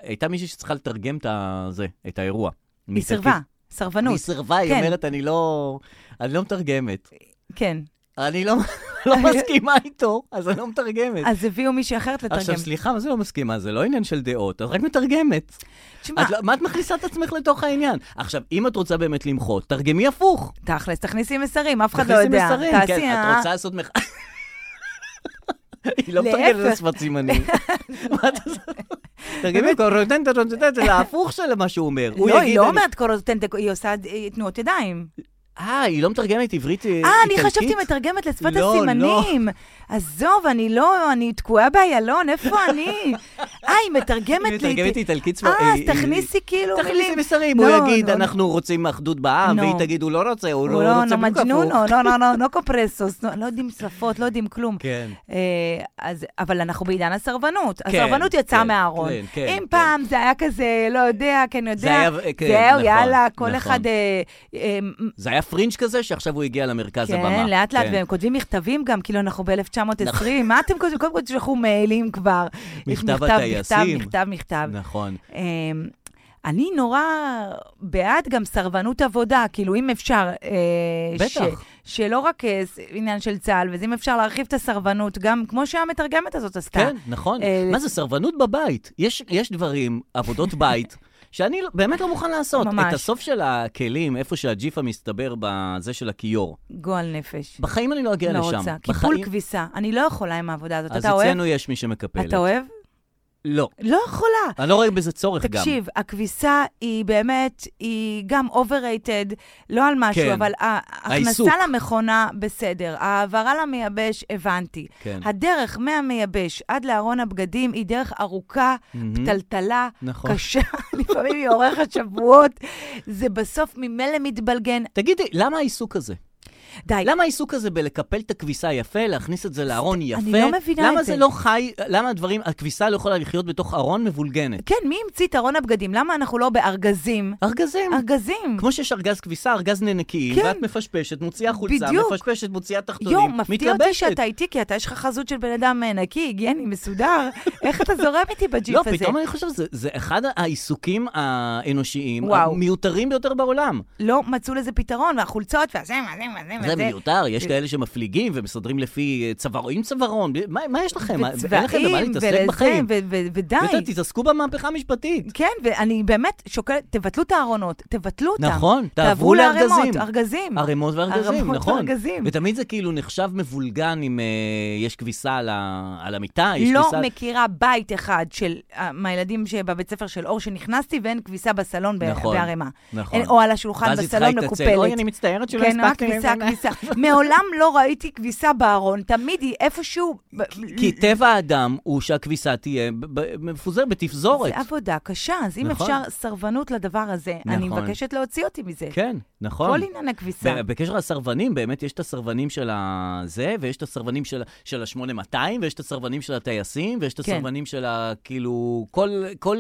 והייתה מישהי שצריכה לתרגם את ה- זה, את האירוע. היא סירבה, היא סרבנות, סירבה, היא כן. אומרת, אני לא, אני לא מתרגמת. כן. אני <laughs> לא לא מסכימה איתו, אז אני לא מתרגמת. אז הביאו מישהי אחרת לתרגם. אה, עכשיו, סליחה, מה זה לא מסכימה? זה לא עניין של דעות, את רק מתרגמת. תשמע, את לא- מה את מכניסה את עצמך לתוך העניין? עכשיו, אם את רוצה באמת למחות, תרגמי הפוך. תכלס, תכניסי מסרים, אף אחד לא תכניסי יודע. מסרים, תעשי, כן, אה? את רוצה לעשות מח... <laughs> היא לא להפך. מתרגמת לשפת <laughs> סימנים. מה את עושה? תרגמי קורודנטה, זה ההפוך של מה שהוא אומר. הוא לא, היא יגיד, לא אני- אומרת קורוזטנטה, היא עושה אה, תנועות ידיים. אה, היא לא מתרגמת עברית אה, איטלקית? אה, אני חשבתי מתרגמת לשפת לא, הסימנים. עזוב, אני לא, אני תקועה באיילון, איפה <laughs> אני? אה, היא היא מתרגמת לי... מתרגמת איטלקית. אה, אז היא- תכניסי כאילו תכניסי מילים. מסרים, לא, הוא יגיד, לא, לא. אנחנו רוצים אחדות בעם, לא. והיא תגיד, הוא לא רוצה, הוא הוא לא לא, רוצה נו בדיוק הפוך. מג'נונו, לא, לא, לא, לא קופרסוס, לא לא יודעים שפות, לא יודעים כלום. כן. אה, אז, אבל אנחנו בעידן הסרבנות. כן, הסרבנות יצאה כן, מהארון. כן, כן, אם כן. פעם זה היה כזה, לא יודע, כן יודע, זה היה- כן, זהו, נכון, יאללה, כל נכון. אחד... אה, אה, זה היה פרינג' כזה, שעכשיו הוא הגיע למרכז הבמה. כן, לאט לאט, כן. נכון. והם כותבים מכתבים גם, כאילו אנחנו ב-1920, מה אתם כותבים? קודם כל תשלחו מיילים כבר. יש מכתב הטייסים. מכתב, מכתב, מכתב. נכון. אמ, אני נורא בעד גם סרבנות עבודה, כאילו, אם אפשר... אה, בטח. שלא רק אה, ס- עניין של צה"ל, וזה אם אפשר להרחיב את הסרבנות, גם כמו שהמתרגמת הזאת עשתה. כן, נכון. אה, מה זה, סרבנות בבית. יש יש דברים, עבודות בית. <laughs> שאני לא- באמת לא מוכן לעשות. ממש. את הסוף של הכלים, איפה שהג'יפה מסתבר בזה של הכיור. גועל נפש. בחיים אני לא אגיע לא לשם. רוצה. בחיים- קיפול כביסה. אני לא יכולה עם העבודה הזאת. אז אתה אוהב? אצלנו יש מי שמקפלת. אתה אוהב? לא. לא יכולה. אני לא רואה בזה צורך גם. תקשיב, הכביסה היא באמת, היא גם overrated, לא על משהו, כן. אבל ההכנסה העיסוק. למכונה, בסדר. ההעברה למייבש, הבנתי. כן. הדרך מהמייבש עד לארון הבגדים היא דרך ארוכה, מהמם. פתלתלה, נכון. קשה, <laughs> לפעמים היא אורכת שבועות. זה בסוף ממילא מתבלגן. תגידי, למה העיסוק הזה? די. למה העיסוק הזה בלקפל את הכביסה יפה, להכניס את זה לארון יפה? אני לא מבינה את למה זה. זה לא חי, למה הדברים, הכביסה לא יכולה לחיות בתוך ארון מבולגנת? כן, מי המציא את ארון הבגדים? למה אנחנו לא בארגזים? ארגזים. ארגזים. כן. כמו שיש ארגז כביסה, ארגז ננקיים, כן. ואת מפשפשת, מוציאה חולצה, בדיוק. מפשפשת, מוציאה תחתונים, יואו, מפתיע אותי מתלבשת. שאתה איתי, כי אתה, יש לך חזות של בן אדם אה, נקי, היגייני, מסודר. איך אתה זורם איתי לא, בג'יפ הזה? פתאום אני חושב, זה- זה אחד העיסוקים האנושיים וואו. המיותרים ביותר בעולם. לא מצאו לזה פתרון, והחולצות, והזה, מה זה, מה זה, מה זה זה. מיותר, יש כאלה שמפליגים ומסדרים לפי אה, צוואר, עם צווארון, ב- מה מה יש לכם? מה- אין לכם וצבעים, במה להתעסק ולזה, בחיים. ו- ו- ודי. יותר תתעסקו במהפכה המשפטית. כן, ואני באמת שוקלת, תבטלו את הארונות, תבטלו אותם. נכון, תעברו תעברו לארגזים. לערימות, ארגזים. ערימות וארגזים, ערימות נכון. וארגזים. ותמיד זה כאילו נחשב מבולגן אם אה, יש כביסה על ה- על המיטה, יש לא כביסה... מכירה בית אחד של, אה, מהילדים שבבית ספר של אור שנכנסתי, ואין כביסה בסלון ב- נכון, בערימה. נכון. אין- או על השולחן ואז היא צריכה בסלון להתנצל, מקופלת. "אוי, אני מצטערת שלא כן, רק הספקתי." כביסה, כביסה. מעולם לא ראיתי כביסה בארון, תמיד היא איפשהו... ב- כי טבע האדם הוא שהכביסה תהיה ב- ב- מפוזרת בתפזורת. זה עבודה קשה, אז אם נכון. אפשר סרבנות לדבר הזה, אני נכון. מבקשת להוציא אותי מזה. כן, נכון. כל עניין הכביסה. ב- בקשר לסרבנים, באמת יש את הסרבנים של הזה, ויש את הסרבנים של, של ה-8200, ויש את הסרבנים של הטייסים, ויש את כן. הסרבנים של ה... כאילו, כל, כל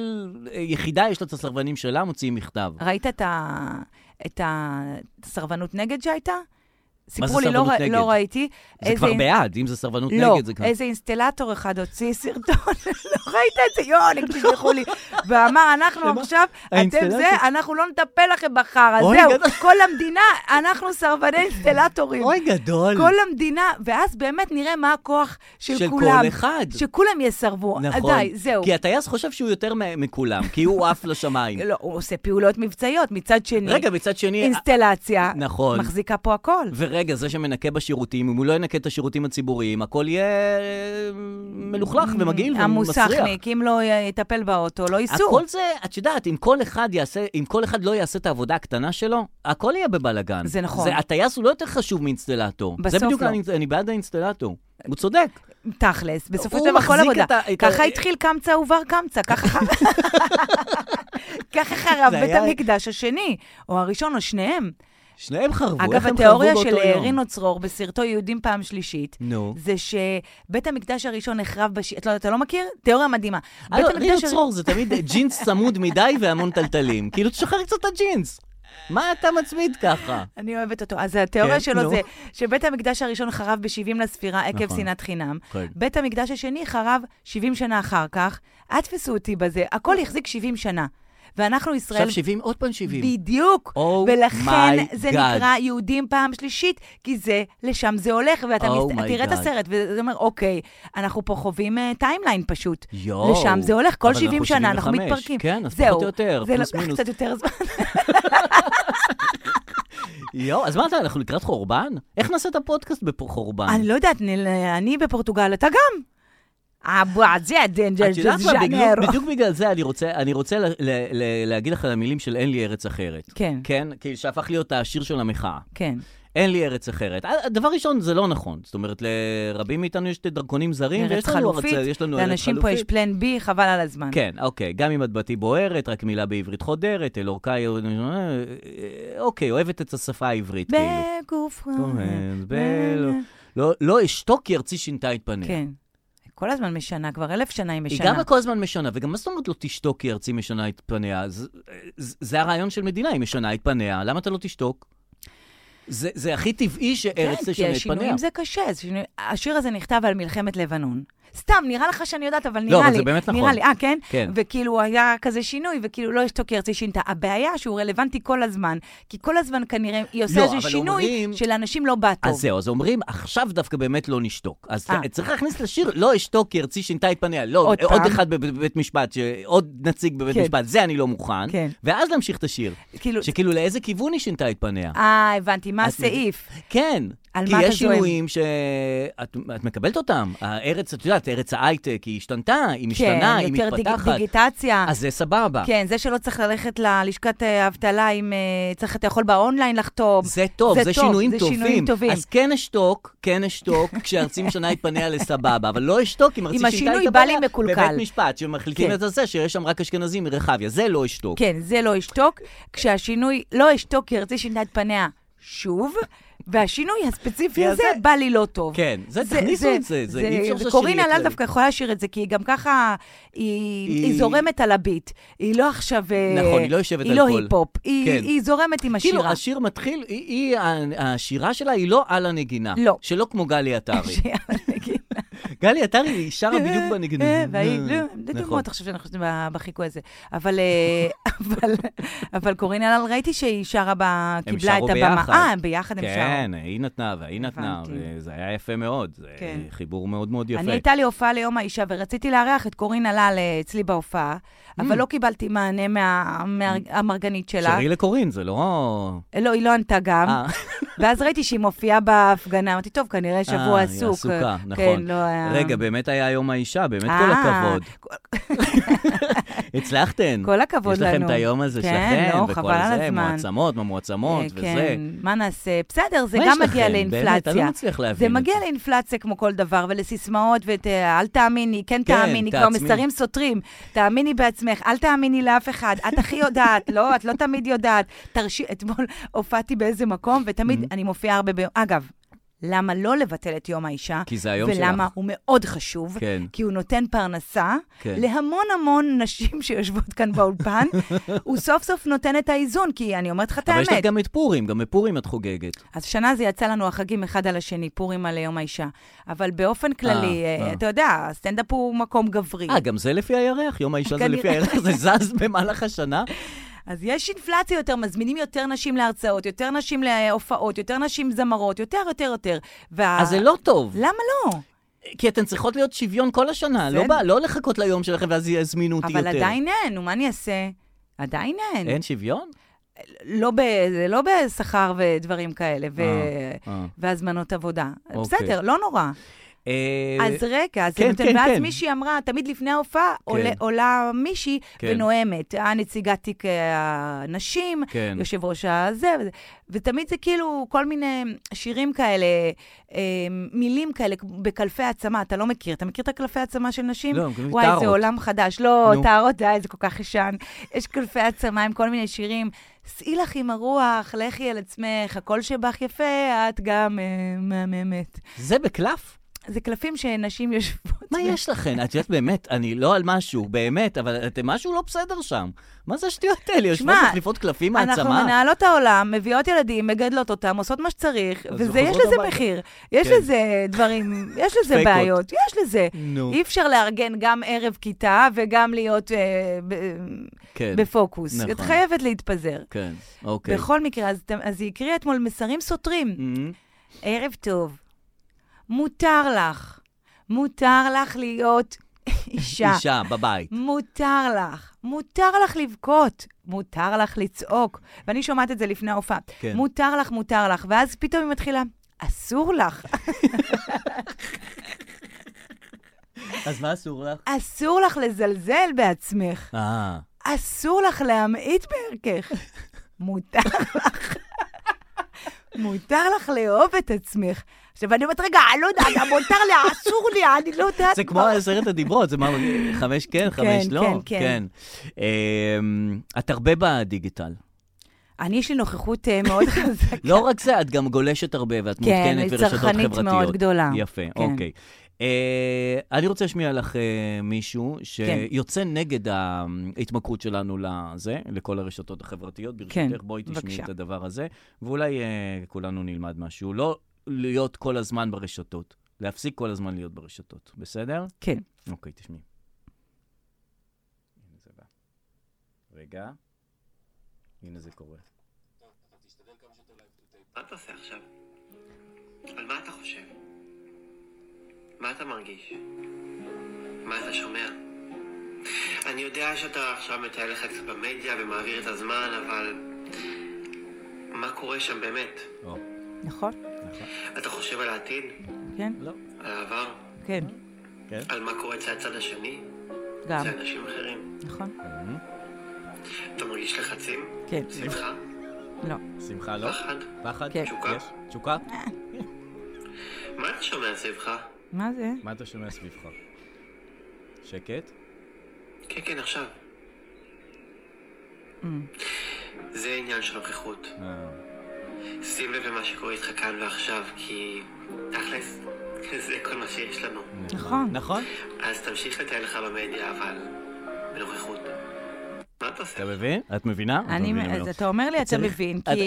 אה, יחידה יש לה את הסרבנים שלה, מוציאים מכתב. ראית את ה- את הסרבנות נגד שהייתה? מה זה סיפרו לי, לא סרבנות ר- נגד? לא ראיתי. זה איזה כבר אינ- בעד, אם זה סרבנות לא, נגד, זה כבר... איזה אינסטלטור אחד הוציא סרטון, <laughs> לא ראית את זה? יואו, אני תשלחו לי. ואמר, אנחנו שמה? עכשיו, אתם האינסטלטור? זה, אנחנו לא נטפל לכם בחרא, אוי, זהו. גדול. כל המדינה, אנחנו סרבני אינסטלטורים. גדול. כל המדינה, ואז באמת נראה מה הכוח של, של כולם. כל אחד. שכולם יסרבו. נכון. די, זהו. כי הטייס חושב שהוא יותר מ- מכולם, כי הוא עף <laughs> לשמיים. לא, הוא עושה פעולות מבצעיות, מצד שני. רגע, מצד שני... אינסטלציה. נכון. מחזיקה פה הכל. ורגע, זה שמנקה בשירותים, אם הוא לא ינקה את השירותים הציבוריים, הכל יהיה אה, מלוכלך Mm, ומגעיל ומסריח. המוסכניק, אם לא י- יטפל באוטו, לא ייסעו. הכל זה, את יודעת, אם כל אחד יעשה, אם כל אחד לא יעשה את העבודה הקטנה שלו, הכל יהיה בבלאגן. זה נכון. זה, הטייס הוא לא יותר חשוב מאינסטלטור. בסוף זה בדיוק, לא. אני, אני בעד האינסטלטור. הוא צודק. תכלס, בסופו הוא של דבר כל מחזיק עבודה. את ה- את ה- ככה התחיל קמצא ובר קמצא, <laughs> ככה חרב- ככה חרב זה בית היה- המקדש השני, או הראשון, או שניהם. שניהם חרבו, איך אגב, הם חרבו התיאוריה באותו של אה, יום? רינו צרור בסרטו יהודים פעם שלישית, נו. זה שבית המקדש הראשון נחרב בש... את לא- אתה לא מכיר? תיאוריה מדהימה. אה, לא, בית המקדש רינו הר- צרור זה תמיד ג'ינס צמוד מדי והמון טלטלים. כאילו, תשחרר קצת את הג'ינס. מה אתה מצמיד ככה? אני אוהבת אותו. אז התיאוריה כן, שלו נו. זה שבית המקדש הראשון חרב ב-70 לספירה עקב נכון. שנאת חינם. כן. בית המקדש השני חרב 70 שנה אחר כך. אל תפסו אותי בזה, הכל החזיק 70 שנה. ואנחנו ישראל... עכשיו 70, עוד פעם 70. בדיוק. Oh ולכן my זה God. נקרא יהודים פעם שלישית, כי זה, לשם זה הולך, ואתה Oh oh my תראה את God. הסרט, וזה אומר, אוקיי, אנחנו פה חווים טיימליין פשוט. יואו. לשם זה הולך, כל Oh. אבל 70 אנחנו שנה אנחנו 75. מתפרקים. כן, אז זהו, פחות או יותר, זה לא- פלוס לקח <laughs> מינוס. קצת יותר זמן. יואו, אז מה אתה, אנחנו לקראת חורבן? איך נעשה את הפודקאסט בחורבן? אני לא יודעת, נל- אני בפורטוגל, אתה גם. אבו עזיה דנג'ל את יודעת מה, בדיוק- ז'אנרו. בדיוק בגלל זה אני רוצה, אני רוצה ל- ל- ל- להגיד לך על המילים של אין לי ארץ אחרת. כן. כן, כאילו שהפך להיות השיר של המחאה. כן. אין לי ארץ אחרת. אה, דבר ראשון, זה לא נכון. זאת אומרת, לרבים מאיתנו יש דרכונים זרים, ארץ כן, ויש לנו חלופית, ארץ- יש לנו ארץ לאנשים פה יש חלופית. פלן בי, חבל על הזמן. כן, אוקיי, גם אם את בתי בוערת, רק מילה בעברית חודרת, אלורקאי, אה, אוקיי, אוהבת את השפה העברית, כאילו. בגוף... גומז, בלו. לא- לא אשתוק כי ארצי שינתה את פניה. אה, כן. כל הזמן משנה, כבר אלף שנה היא היא משנה. גם כל הזמן משנה, וגם מה זאת אומרת לא תשתוק כי ארצי משנה את פניה? זה- זה זה הרעיון של מדינה, היא משנה את פניה, למה אתה לא תשתוק? זה זה הכי טבעי שארץ תשנה כן, כי את פניה. השינויים זה קשה. זה שינוי- השיר הזה נכתב על מלחמת לבנון. סתם, נראה לך שאני יודעת, אבל נראה לי. אבל זה באמת נכון. נראה לי, אה, כן? כן. וכאילו היה כזה שינוי, וכאילו לא אשתוק כי ארצי שינתה. הבעיה שהוא רלוונטי כל הזמן, כי כל הזמן כנראה היא עושה לא, איזה אבל שינוי אומרים- שלאנשים לא בא טוב. אז זהו, אז אומרים, עכשיו דווקא באמת לא נשתוק. אז אה. צריך להכניס לשיר, לא אשתוק כי ארצי שינתה את פניה. לא, עוד עוד פעם. אחד בב- בבית משפט, ש- עוד נציג בבית כן. משפט, זה אני לא מוכן. כן. ואז להמשיך את השיר. כאילו, שכאילו, לאיזה כיוון היא שינתה את פניה? אה, הבנתי, מה את הסעיף? כן. על כי מה אתה יש זועם? שינויים שאת את מקבלת אותם. הארץ, את יודעת, ארץ ההייטק, היא השתנתה, היא כן, משתנה, היא יותר דיג- מתפתחת. דיגיטציה. אז זה סבבה. כן, זה שלא צריך ללכת ללשכת אה, האבטלה אם אה, צריך, אתה יכול באונליין לחתום. זה טוב, זה זה, טוב, שינויים זה טובים. שינויים טובים. אז כן אשתוק, כן <laughs> אשתוק, כשארצי משנה את פניה לסבבה, אבל לא אשתוק אם ארצי אם שינתה את פניה. השינוי בא לי מקולקל. בבית משפט, שמחליטים כן. את זה, שיש שם רק אשכנזים מרחביה, זה לא אשתוק. כן, זה לא אשתוק. כשהשינוי לא אשתוק, כי ארצי שינה את פניה שוב, והשינוי הספציפי זה- הזה בא לי לא טוב. כן, זה- תכניסו את זה, זה- אי אפשר שהשיר וקורינה יהיה לאל כללי. דווקא יכולה לשיר את זה, כי היא גם ככה, היא, היא... היא- זורמת על הביט. היא לא עכשיו... אה, נכון, היא לא יושבת היא על לא כל. היפ-הופ, היא, כן. היא זורמת עם השירה. כאילו, השיר מתחיל, היא, היא, השירה שלה היא לא על הנגינה. לא. שלא כמו גלי עטרי. <laughs> שירה נגיד. גלי עטרי, היא שרה אה, בדיוק בנגינה. <laughs> והיא, לא, זה נכון. דוגמאות עכשיו שאנחנו עושים ב- בחיקוי הזה. אבל, אה, <laughs> אבל, אבל קורינה לאל, ראיתי שהיא שרה, ב- הם קיבלה את שרו הבמה. ביחד. אה, הם ביחד הם שרו. כן, היא נתנה והיא נתנה, הבנתי. וזה היה יפה מאוד. זה כן. חיבור מאוד מאוד יפה. אני הייתה לי הופעה ליום האישה, ורציתי לארח את קורינה לאל אה, אצלי בהופעה, Mm. אבל לא קיבלתי מענה מה- מהמרגנית שלה. שרי לקורין, זה לא... לא, היא לא ענתה גם. אה, ואז ראיתי שהיא מופיעה בהפגנה, אמרתי, טוב, כנראה שבוע אה, היא עסוק. עסוקה, כן, נכון. לא היה- רגע, באמת היה יום האישה, באמת אה, כל <laughs> הכבוד. הצלחתן. כל הכבוד יש לכם לנו. את היום הזה כן, שלכם, לא, וכל חבל על זה, הזמן. מועצמות, אה, ממועצמות, וזה. כן, מה נעשה? בסדר, זה מה גם יש מגיע לכם? באמת, אני לאינפלציה. לא מצליח להבין זה את מגיע לאינפלציה כמו כל דבר, ולסיסמאות, ואל תאמיני, כן כן, תאמיני, כבר תעצמי. מסרים סותרים. תאמיני בעצמך, אל תאמיני לאף אחד, את הכי יודעת, לא, את לא תמיד יודעת. תרשי, אתמול <laughs> הופעתי באיזה מקום, ותמיד Mm-hmm. אני מופיעה הרבה ביום. אגב, למה לא לבטל את יום האישה? כי זה היום ולמה שלך. הוא מאוד חשוב, כן. כי הוא נותן פרנסה כן. להמון המון נשים <laughs> שיושבות כאן <laughs> באולפן. הוא סוף סוף נותן את האיזון, כי אני אומרת לך את אבל האמת. יש לך גם את פורים, גם בפורים את חוגגת. אז שנה זה יצא לנו החגים אחד על השני, פורים על יום האישה. אבל באופן כללי, אה, אה, אה. אתה יודע, הסטנדאפ הוא מקום גברי. אה, גם זה לפי הירח? יום האישה זה כנראה. לפי הירח? זה זז במהלך השנה? אז יש אינפלציה יותר, מזמינים יותר נשים להרצאות, יותר נשים להופעות, יותר נשים זמרות, יותר, יותר, יותר. וה- אז זה לא טוב. למה לא? כי אתן צריכות להיות שוויון כל השנה, לא בסדר. בא- לא לחכות ליום שלכם ואז יזמינו אותי יותר. אבל עדיין אין, נו, מה אני אעשה? עדיין אין. אין שוויון? לא ב... זה לא בשכר ודברים כאלה, ו... אה, אה. והזמנות עבודה. אוקיי. בסדר, לא נורא. אה, אז רגע, אז כן, נותן, כן, ואז כן. מישהי אמרה, תמיד לפני ההופעה עולה, עולה מישהי כן. ונואמת, הנציגת תיק אה, הנשים, כן. יושב ראש הזה, וזה, ותמיד זה כאילו כל מיני שירים כאלה, אה, מילים כאלה בקלפי העצמה, אתה לא מכיר, אתה מכיר את הקלפי העצמה של נשים? לא, הם קוראים לי וואי, טארות. זה עולם חדש. לא, נו. טהרות, די, זה כל כך ישן. יש קלפי עצמה עם כל מיני שירים. סעי לך עם הרוח, לכי על עצמך, הכל שבך יפה, את גם אה, מהממת. זה בקלף? זה קלפים שנשים יושבות. מה ו- יש לכן? את יודעת, באמת, אני לא על משהו, באמת, אבל אתם משהו לא בסדר שם. מה זה השטויות האלה? יושבות שמע, מחליפות קלפים <laughs> אנחנו מעצמה? מנהלות העולם, מביאות ילדים, מגדלות אותם, עושות מה שצריך, אז וזה, יש חוזרות לזה הביתה. מחיר. יש כן. לזה <laughs> דברים, יש לזה דפקות. בעיות, יש לזה. נו, אי אפשר לארגן גם ערב כיתה וגם להיות אה, ב- כן, בפוקוס. נכון. את חייבת להתפזר. כן, אוקיי. בכל מקרה, אז אתם- אז היא הקריאה אתמול מסרים סותרים. מהמם. ערב טוב. מותר לך. מותר לך להיות <laughs> אישה. אישה בבית. מותר לך. מותר לך לבכות. מותר לך לצעוק. ואני שומעת את זה לפני ההופעה. כן. מותר לך, מותר לך. ואז פתאום היא מתחילה, אסור לך. אז מה אסור לך? אסור לך לזלזל בעצמך. אה, אסור לך להמעיט <laughs> בערכך. מותר לך. מותר לך לאהוב את עצמך. עכשיו, אני אומרת, רגע, אני לא יודעת, מותר לי, אסור לי, אני לא יודעת. זה כמו מה- עשרת הדיברות, זה מה, חמש כן, חמש <laughs> כן, לא. כן, כן, כן. אמ, את הרבה בדיגיטל. אני, יש לי נוכחות אה, מאוד חזקה. לא רק זה, את גם גולשת הרבה ואת כן, מעודכנת היא ברשתות צרכנית חברתיות. מאוד גדולה. כן. יפה, אוקיי. אה, אני רוצה להשמיע לך אה, כן. מישהו שיוצא נגד ההתמכרות שלנו לזה, לכל הרשתות החברתיות. כן, ברשותך, בואי תשמעי בבקשה. את הדבר הזה, ואולי אה, כולנו נלמד משהו. לא להיות כל הזמן ברשתות, להפסיק כל הזמן להיות ברשתות, בסדר? כן. אוקיי, תשמעי. הנה זה בא. רגע. הנה זה קורה. מה אתה עושה עכשיו? על מה אתה חושב? מה אתה מרגיש? מה אתה שומע? אני יודע שאתה עכשיו מטייל לך קצת במדיה ומעביר את הזמן, אבל... מה קורה שם באמת? או, נכון? נכון. אתה חושב על העתיד? כן, לא. על העבר? כן, כן. על מה קורה אצל הצד השני? גם, אצל אנשים אחרים? נכון? אתה מרגיש לחצים? כן, שמחה? לא. שמחה לא? פחד? פחד? כן. אה. תשוקה? יש? תשוקה? מה אתה שומע סביבך? מה זה? מה אתה שומע סביבך? שקט? כן, כן, עכשיו. זה עניין של נוכחות. אה, שים לב למה שקורה איתך כאן ועכשיו, כי תכלס, זה כל מה שיש לנו. נכון. נכון? אז תמשיך לטייל לך במדיה, אבל בנוכחות. מה אתה עושה? אתה מבין? את מבינה? את אני, מבינה מאוד. אז אתה אומר לי, אתה צריך- מבין, אתה- כי-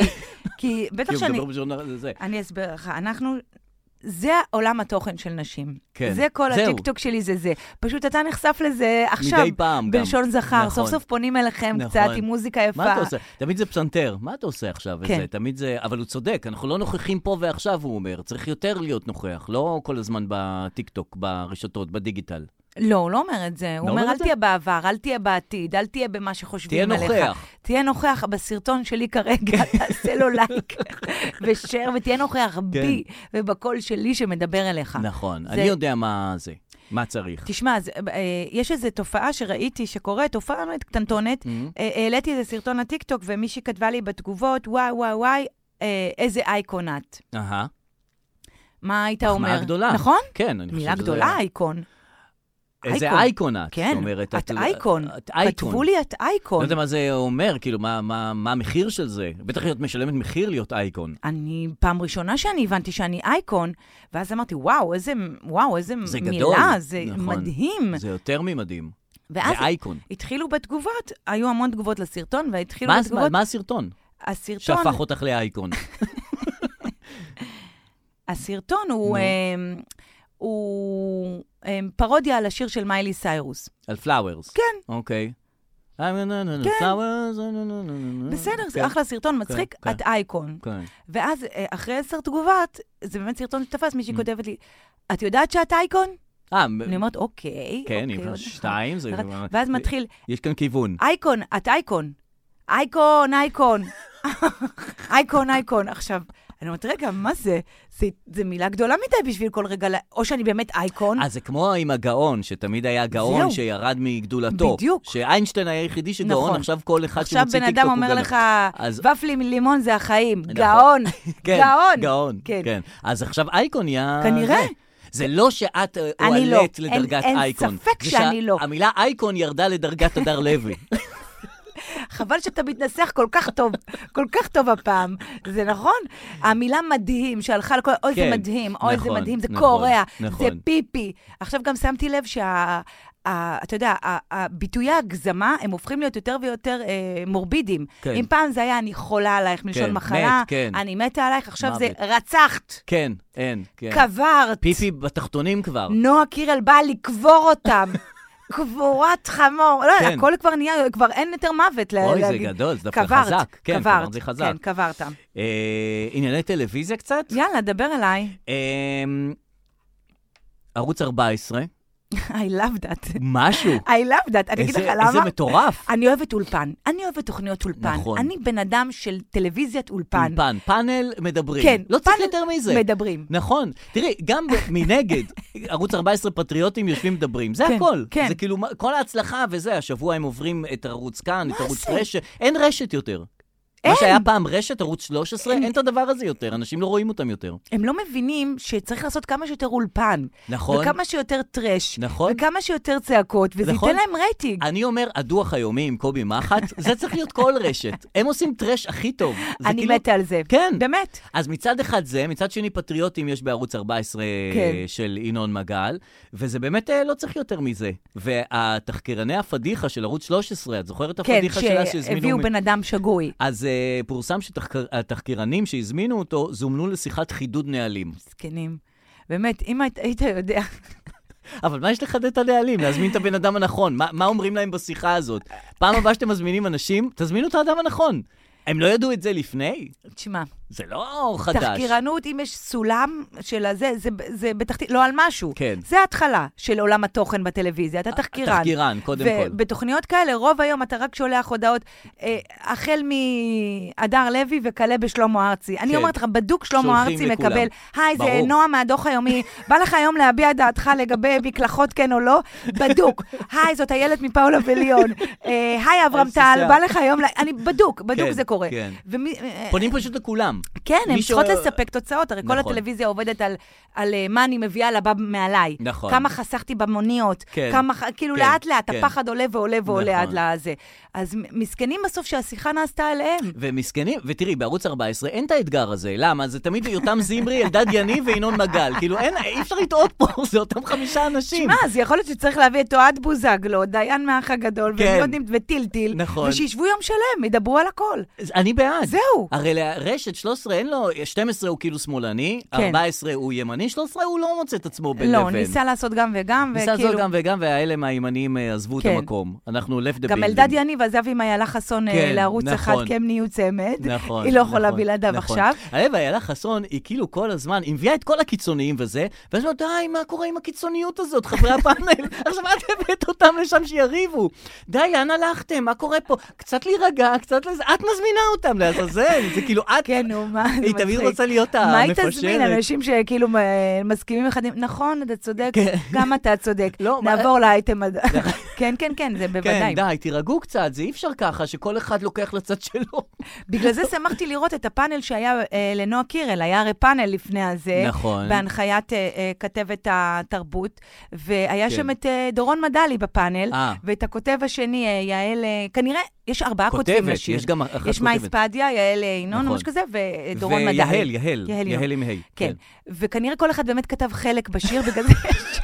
כי בטח כי הוא שאני... מדבר בז'ורנל הזה. אני אסביר לך, אנחנו... זה עולם התוכן של נשים. כן. זה כל זהו. הטיקטוק שלי, זה זה. פשוט אתה נחשף לזה עכשיו. מדי פעם גם. בלשון זכר. נכון. סוף סוף פונים אליכם נכון. קצת עם מוזיקה יפה. מה אתה עושה? תמיד זה פסנתר, מה אתה עושה עכשיו? כן. וזה, תמיד זה, אבל הוא צודק, אנחנו לא נוכחים פה ועכשיו, הוא אומר. צריך יותר להיות נוכח, לא כל הזמן בטיקטוק, ברשתות, בדיגיטל. לא, הוא לא אומר את זה. הוא לא אומר, אומר את אל זה? תהיה בעבר, אל תהיה בעתיד, אל תהיה במה תהיה שחושבים עליך. נוכח. תהיה נוכח בסרטון שלי <laughs> כרגע, תעשה לו לייק <laughs> ושאר, ותהיה נוכח בי כן. ובקול שלי שמדבר אליך. נכון, אה. זה- אני יודע מה זה, מה צריך. תשמע, זה, אה, יש איזו תופעה שראיתי שקורית, תופעה באמת קטנטונת. אה, העליתי איזה סרטון לטיקטוק, ומישהי כתבה לי בתגובות, וואי, וואי, וואי, אה, איזה אייקון את. אהה, מה היית אומר? מחמאה גדולה. נכון? כן, אני חושב שזה... מילה גדולה, אייקון. איזה אייקון. אייקון את, כן, זאת אומרת. את אייקון. את אייקון. כתבו לי את אייקון. לא יודע מה זה אומר, כאילו, מה, מה, מה המחיר של זה? בטח את משלמת מחיר להיות אייקון. אני, פעם ראשונה שאני הבנתי שאני אייקון, ואז אמרתי, וואו, איזה, וואו, איזה זה מילה, גדול. זה נכון. מדהים. זה יותר ממדהים. ואז זה אייקון. התחילו בתגובות, היו המון תגובות לסרטון, והתחילו מה, כאילו, בתגובות, מה הסרטון הסרטון, שהפך אותך לאייקון? הסרטון נו. הוא, אמ, הוא אמ, פרודיה על השיר של מיילי סיירוס. על פלאוורס. כן. אוקיי. I'm a- כן. flowers, I'm a- בסדר, כן, זה אחלה סרטון, מצחיק, כן. את אייקון. כן. ואז אה, אחרי עשר תגובות, זה באמת סרטון שתפס, מישהי כותבת לי, את יודעת שאת אייקון? אה, אני אומרת, אוקיי. כן, אוקיי, היא עוד כבר אחד." שתיים, זה... כבר- ואז מתחיל, יש כאן כיוון. אייקון, את אייקון. אייקון, אייקון. <laughs> אייקון, אייקון. עכשיו, אני אומרת, רגע, מה זה? זה- זה מילה גדולה מדי בשביל כל רגע, ל- או שאני באמת אייקון. אז אה, זה כמו עם הגאון, שתמיד היה גאון נכון. זהו. שירד מגדולתו. בדיוק. שאיינשטיין היה היחידי שגאון, נכון. עכשיו כל אחד עכשיו שמוציא בן טיקטוק אדם הוא אומר גאון. <laughs> נכון. לך, אז- ופלי עם לימון זה החיים. נכון. גאון, <laughs> כן, גאון. גאון, כן. כן. אז עכשיו אייקון נהיה... כנראה. זה. זה לא שאת אה, אני הועלית לא. אין- לדרגת אין אייקון. ספק זה שאני לא. <laughs> המילה אייקון ירדה לדרגת הדר לוי. חבל שאתה מתנסח כל כך טוב, כל כך טוב הפעם. זה נכון? המילה מדהים שהלכה לכל... אוי, זה כן, מדהים, אוי, זה נכון, מדהים, זה נכון, קורע, זה נכון. פיפי. עכשיו גם שמתי לב שה... ה- אתה יודע, ה- הביטויי ההגזמה, הם הופכים להיות יותר ויותר אה, מורבידיים. כן. אם פעם זה היה, אני חולה עלייך מלשון כן, מחלה, מת, כן. אני מתה עלייך, עכשיו זה מוות. רצחת, כן, אין, כן. קברת. פיפי בתחתונים כבר. נועה קירל באה לקבור <laughs> אותם. קבורת חמור. לא, כן. הכל כבר נהיה, כבר אין יותר מוות. ל- אוי, זה להגיד. גדול, זה דווקא קברת, חזק. כן, קברת, קברת זה חזק. כן, קברת. אה, ענייני טלוויזיה קצת? יאללה, דבר אליי. אה, ערוץ 14, <laughs> I love that. <laughs> משהו. I love that. אני אגיד איזה- לך למה. אה, איזה מטורף. אני אוהבת אולפן. אני אוהבת תוכניות אולפן. נכון. אני בן אדם של טלוויזיית אולפן. אולפן, פאנל מדברים. כן, לא צריך פאנל יותר מזה. מדברים. נכון. תראי, גם <laughs> ב- מנגד, ערוץ 14 פטריוטים יושבים מדברים. זה כן, הכל. כן. זה כאילו, מה- כל ההצלחה וזה, השבוע הם עוברים את ערוץ כאן, את ערוץ זה? רשת. אין רשת יותר. אין. מה שהיה פעם רשת, ערוץ 13, אין. אין את הדבר הזה יותר, אנשים לא רואים אותם יותר. הם לא מבינים שצריך לעשות כמה שיותר אולפן. נכון. וכמה שיותר טרש. נכון. וכמה שיותר צעקות, וזה נכון. ייתן להם רייטינג. אני אומר, הדוח היומי עם קובי מחט, זה צריך להיות כל רשת. הם עושים טרש הכי טוב. זה אני כאילו- מתה על זה. כן. באמת. אז מצד אחד זה, מצד שני פטריוטים יש בערוץ 14 כן. כן. של ינון מגל, וזה באמת אה, לא צריך יותר מזה. והתחקרני הפדיחה של ערוץ 13, את זוכרת את כן, הפדיחה שלה שהזמינו... שהביאו מ- בן אדם שגוי. אז uh, פורסם שהתחקרנים שהזמינו אותו זומנו לשיחת חידוד נהלים. זקנים. באמת, אם היית- היית יודע, <laughs> אבל מה יש לחדד את הנהלים? להזמין את הבן אדם הנכון. מה, מה אומרים להם בשיחה הזאת? פעם הבאה שאתם מזמינים אנשים, תזמינו את האדם הנכון. הם לא ידעו את זה לפני? תשמע, זה לא חדש. תחקירנות, אם יש סולם של הזה, זה- זה בתחתית, לא על משהו. כן. זה ההתחלה של עולם התוכן בטלוויזיה, אתה תחקירן. תחקירן, כן, קודם כל. ובתוכניות כאלה, רוב היום אתה רק שולח הודעות, אה, החל מהדר לוי וכלה בשלמה ארצי. אני כן. אומרת לך, בדוק שלמה שולחים ארצי לכולם. מקבל, היי, זה ברור. נועה מהדוח היומי, בא לך היום להביע דעתך לגבי <laughs> מקלחות כן או לא? בדוק. היי, זאת איילת מפאולה וליון. אה, היי, אברהם איזה טל, שיער. בא לך היום, ל- אני בדוק, בדוק כן, זה קורה. כן. ומי- אה, פונים פשוט לכולם. כן, הן מי צריכות שאוה- לספק תוצאות, הרי כל נכון. הטלוויזיה עובדת על- על אה, מה אני מביאה לבא מעליי. נכון. כמה חסכתי במוניות, כן. כמה, ח- כאילו כן, לאט-לאט, כן. הפחד עולה ועולה ועולה עד נכון. לזה. אז מ- מסכנים בסוף שהשיחה נעשתה עליהם. ומסכנים, ותראי, בערוץ 14 אין את האתגר הזה, למה? זה תמיד יותם זמרי, אלדד יניב וינון מגל. כאילו, אין, אי אפשר לטעות פה, <laughs> זה אותם חמישה אנשים. שמע, אז יכול להיות שצריך להביא את אוהד בוזגלו, דיין מהאח הגדול, כן. והם לא יודעים- וטילטיל, נכון. ושישבו יום שלם, ידברו על הכל. אז אני בעד. זהו. הרי לרשת 13 אין לו, 12 הוא כאילו שמאלני, כן. 14 הוא ימני, 13 הוא לא מוצא את עצמו בין לא, לבין. ניסה לעשות גם וגם, ניסה וכאילו... לעשות גם וגם, והאלה מהימנים אה, עזבו כן. את המקום. אנחנו left the building. גם אלדד יניב עזב עם איילה חסון אה, כן, לערוץ אחד, נכון. כי הם נהיו צמד. נכון. היא לא יכולה נכון, בלעדיו נכון. עכשיו. הלב, איילה חסון, היא כאילו כל הזמן, היא מביאה את כל הקיצוניים וזה, ואז היא אומרת, די, מה קורה עם הקיצוניות הזאת, חברי <laughs> הפאנל? עכשיו את הבאת אותם לשם שיריבו. די, לאן הלכתם? מה קורה פה? קצת להירגע, קצת לזה. את מזמינה אותם לעזאזל, זה כאילו את... כן, נו, מה, זה היא תמיד מצחיק. רוצה להיות מה היא תזמין? המפשרת. אנשים שכאילו אה, מסכימים אחד עם... נכון, אתה צודק, כן. גם אתה צודק. לא, מה- נכון. נעבור <laughs> לאייטם הבא. כן, כן, כן, זה כן, בוודאי. די, תירגעו קצת, זה אי אפשר ככה, שכל אחד לוקח לצד שלו. בגלל זה שמחתי לראות את הפאנל שהיה אה, לנועה קירל, היה הרי פאנל לפני הזה. נכון. בהנחיית אה, אה, כתבת התרבות, והיה כן. שם את אה, דורון מדלי בפאנל, אה. ואת הכותב השני, אה, יעל, אה, כנראה, יש ארבעה כותבים כותבת, לשיר. יש גם אחת כותבת. יש מאי ספדיה, יעל אה, ינון, או נכון. משהו כזה, ודורון מדלי. ויהל, יהל, יהל ינון. יהל עם ה'. כן. וכנראה כל אחד באמת כתב חלק בשיר, <laughs> בגלל זה יש-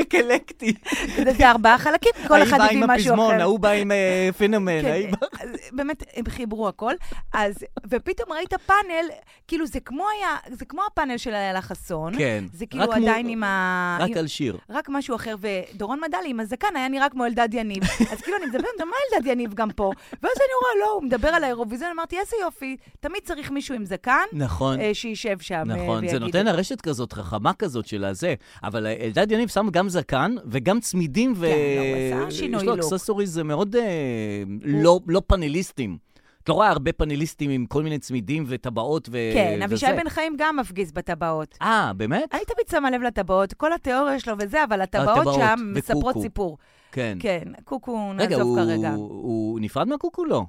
אקלקטי. בגלל זה ארבעה חלקים, כל אחד הביא ההיא משהו באה עם הפזמון, אחר. ההוא בא עם אה, פנומן, כן, ההיא באה... אז באמת, הם חיברו הכל. אז, ופתאום ראית פאנל, כאילו, זה כמו היה, זה כמו הפאנל של איילה חסון. כן. זה כאילו רק מו- עדיין עם ה... רק עם- על שיר. רק משהו אחר, ודורון מדלי עם הזקן היה נראה כמו אלדד <laughs> יניב. אז כאילו, אני מדברת, מה אלדד יניב גם פה? ואז אני רואה, לא, הוא מדבר על האירוויזיון, אמרתי, איזה יופי, תמיד צריך מישהו עם זקן, נכון. אה, שישב שם אה, נכון, זה ויגיד. נותן הרשת כזאת, חכמה כזאת של הזה. אבל אה, אלדד יניב שם גם זקן וגם צמידים ו... כן, לא, הוא עשה שינוי יש לו לוק. אקססוריז אה, מאוד אה, לא- לא פאנליסטים. את לא רואה הרבה פאנליסטים עם כל מיני צמידים וטבעות ו... כן, אבישי אה, וזה. בן חיים גם מפגיז בטבעות. אה, באמת? אני תמיד שמה לב לטבעות, כל התיאוריה שלו וזה, אבל הטבעות הטבעות שם וקוקו. מספרות סיפור. כן. כן, קוקו רגע, נעזוב הוא- כרגע. הוא נפרד מהקוקו? לא.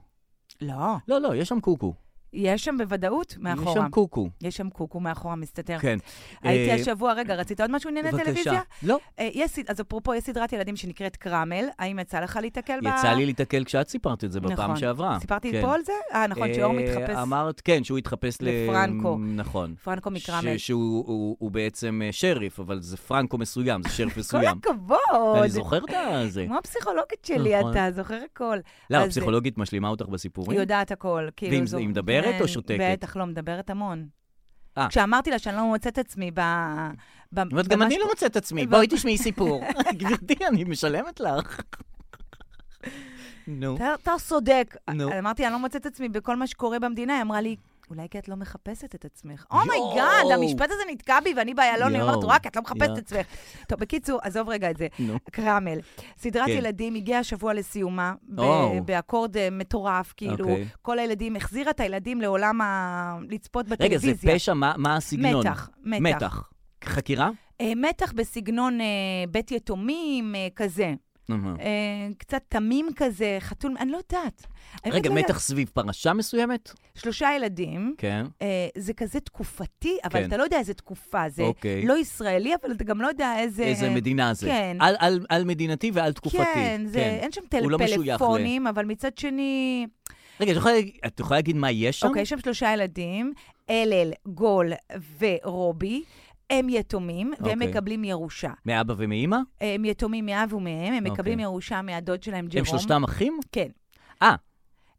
לא. לא, לא, יש שם קוקו. יש שם בוודאות מאחורה. יש שם קוקו. יש שם קוקו מאחורה מסתתר. כן. הייתי אה, השבוע, רגע, רצית עוד משהו ענייני בבקשה. טלוויזיה? לא. אה, יש, סד- אז אפרופו, יש סדרת ילדים שנקראת קרמל, האם יצא לך להתקל בה? יצא לי להתקל כשאת סיפרת את זה בפעם נכון. שעברה. סיפרתי כן. פה על זה? אה, נכון, שאור אה, מתחפש. אמרת, כן, שהוא התחפש ל- לפרנקו. נכון. פרנקו מקרמל. ש- שהוא הוא- הוא בעצם אה, שריף, אבל זה פרנקו מסוים, זה שריף <laughs> כל מסוים. הכבוד. אני זוכר את זה. כמו הפסיכולוגית שלי, נכון. אתה זוכר הכל. לא, אז- אה, הפסיכולוגית משלימה אותך היא בסיפורים? יודעת הכל. כאילו ואם- זו- היא מדברת או כן, שותקת? בטח, לא, מדברת המון. אה. כשאמרתי לה שאני לא מוצאת את עצמי ב... ב- היא אומרת, גם במה אני ש- לא מוצאת את עצמי, ב- בואי תשמעי סיפור. <laughs> גברתי, אני משלמת לך. נו. אתה- אתה צודק. נו. אמרתי, אני לא מוצאת את עצמי בכל מה שקורה במדינה. היא אמרה לי, אולי כי את לא מחפשת את עצמך. אומייגאד, יואו. המשפט הזה נתקע בי, ואני באיילון, אני אומרת, יואו. רואה, כי את לא מחפשת יואו. את עצמך. טוב, בקיצור, עזוב רגע את זה. נו. קרמל. סדרת כן. ילדים הגיעה השבוע לסיומה, ב- וואו. באקורד אה, מטורף, כאילו, אוקיי. כל הילדים, החזירה את הילדים לעולם ה... לצפות רגע, בטלוויזיה. זה פשע, מה מה הסגנון? מתח, מתח. מתח. חקירה? אה, מתח בסגנון אה, בית יתומים, אה, כזה. אהה. אה, קצת תמים כזה, חתול, אני לא יודעת. האמת רגע, לא יודעת. מתח סביב פרשה מסוימת? שלושה ילדים, כן. אה, זה כזה תקופתי, אבל כן. אתה לא יודע איזה תקופה זה. אוקיי. לא ישראלי, אבל אתה גם לא יודע איזה... איזה מדינה זה. כן. על- על- על מדינתי ועל תקופתי. כן, זה, אין שם טל... הוא לא משוייך ל- פלאפונים, אבל מצד שני... רגע, את יכולה להגיד- את יכולה להגיד מה יש שם? אוקיי, יש שם שלושה ילדים, אלל, גול ורובי. הם יתומים, והם אוקיי. מקבלים ירושה. מאבא ומאימא? הם יתומים מאב ומהם, הם מקבלים אוקיי. ירושה מהדוד שלהם, ג'רום. הם שלושתם אחים? כן. אה,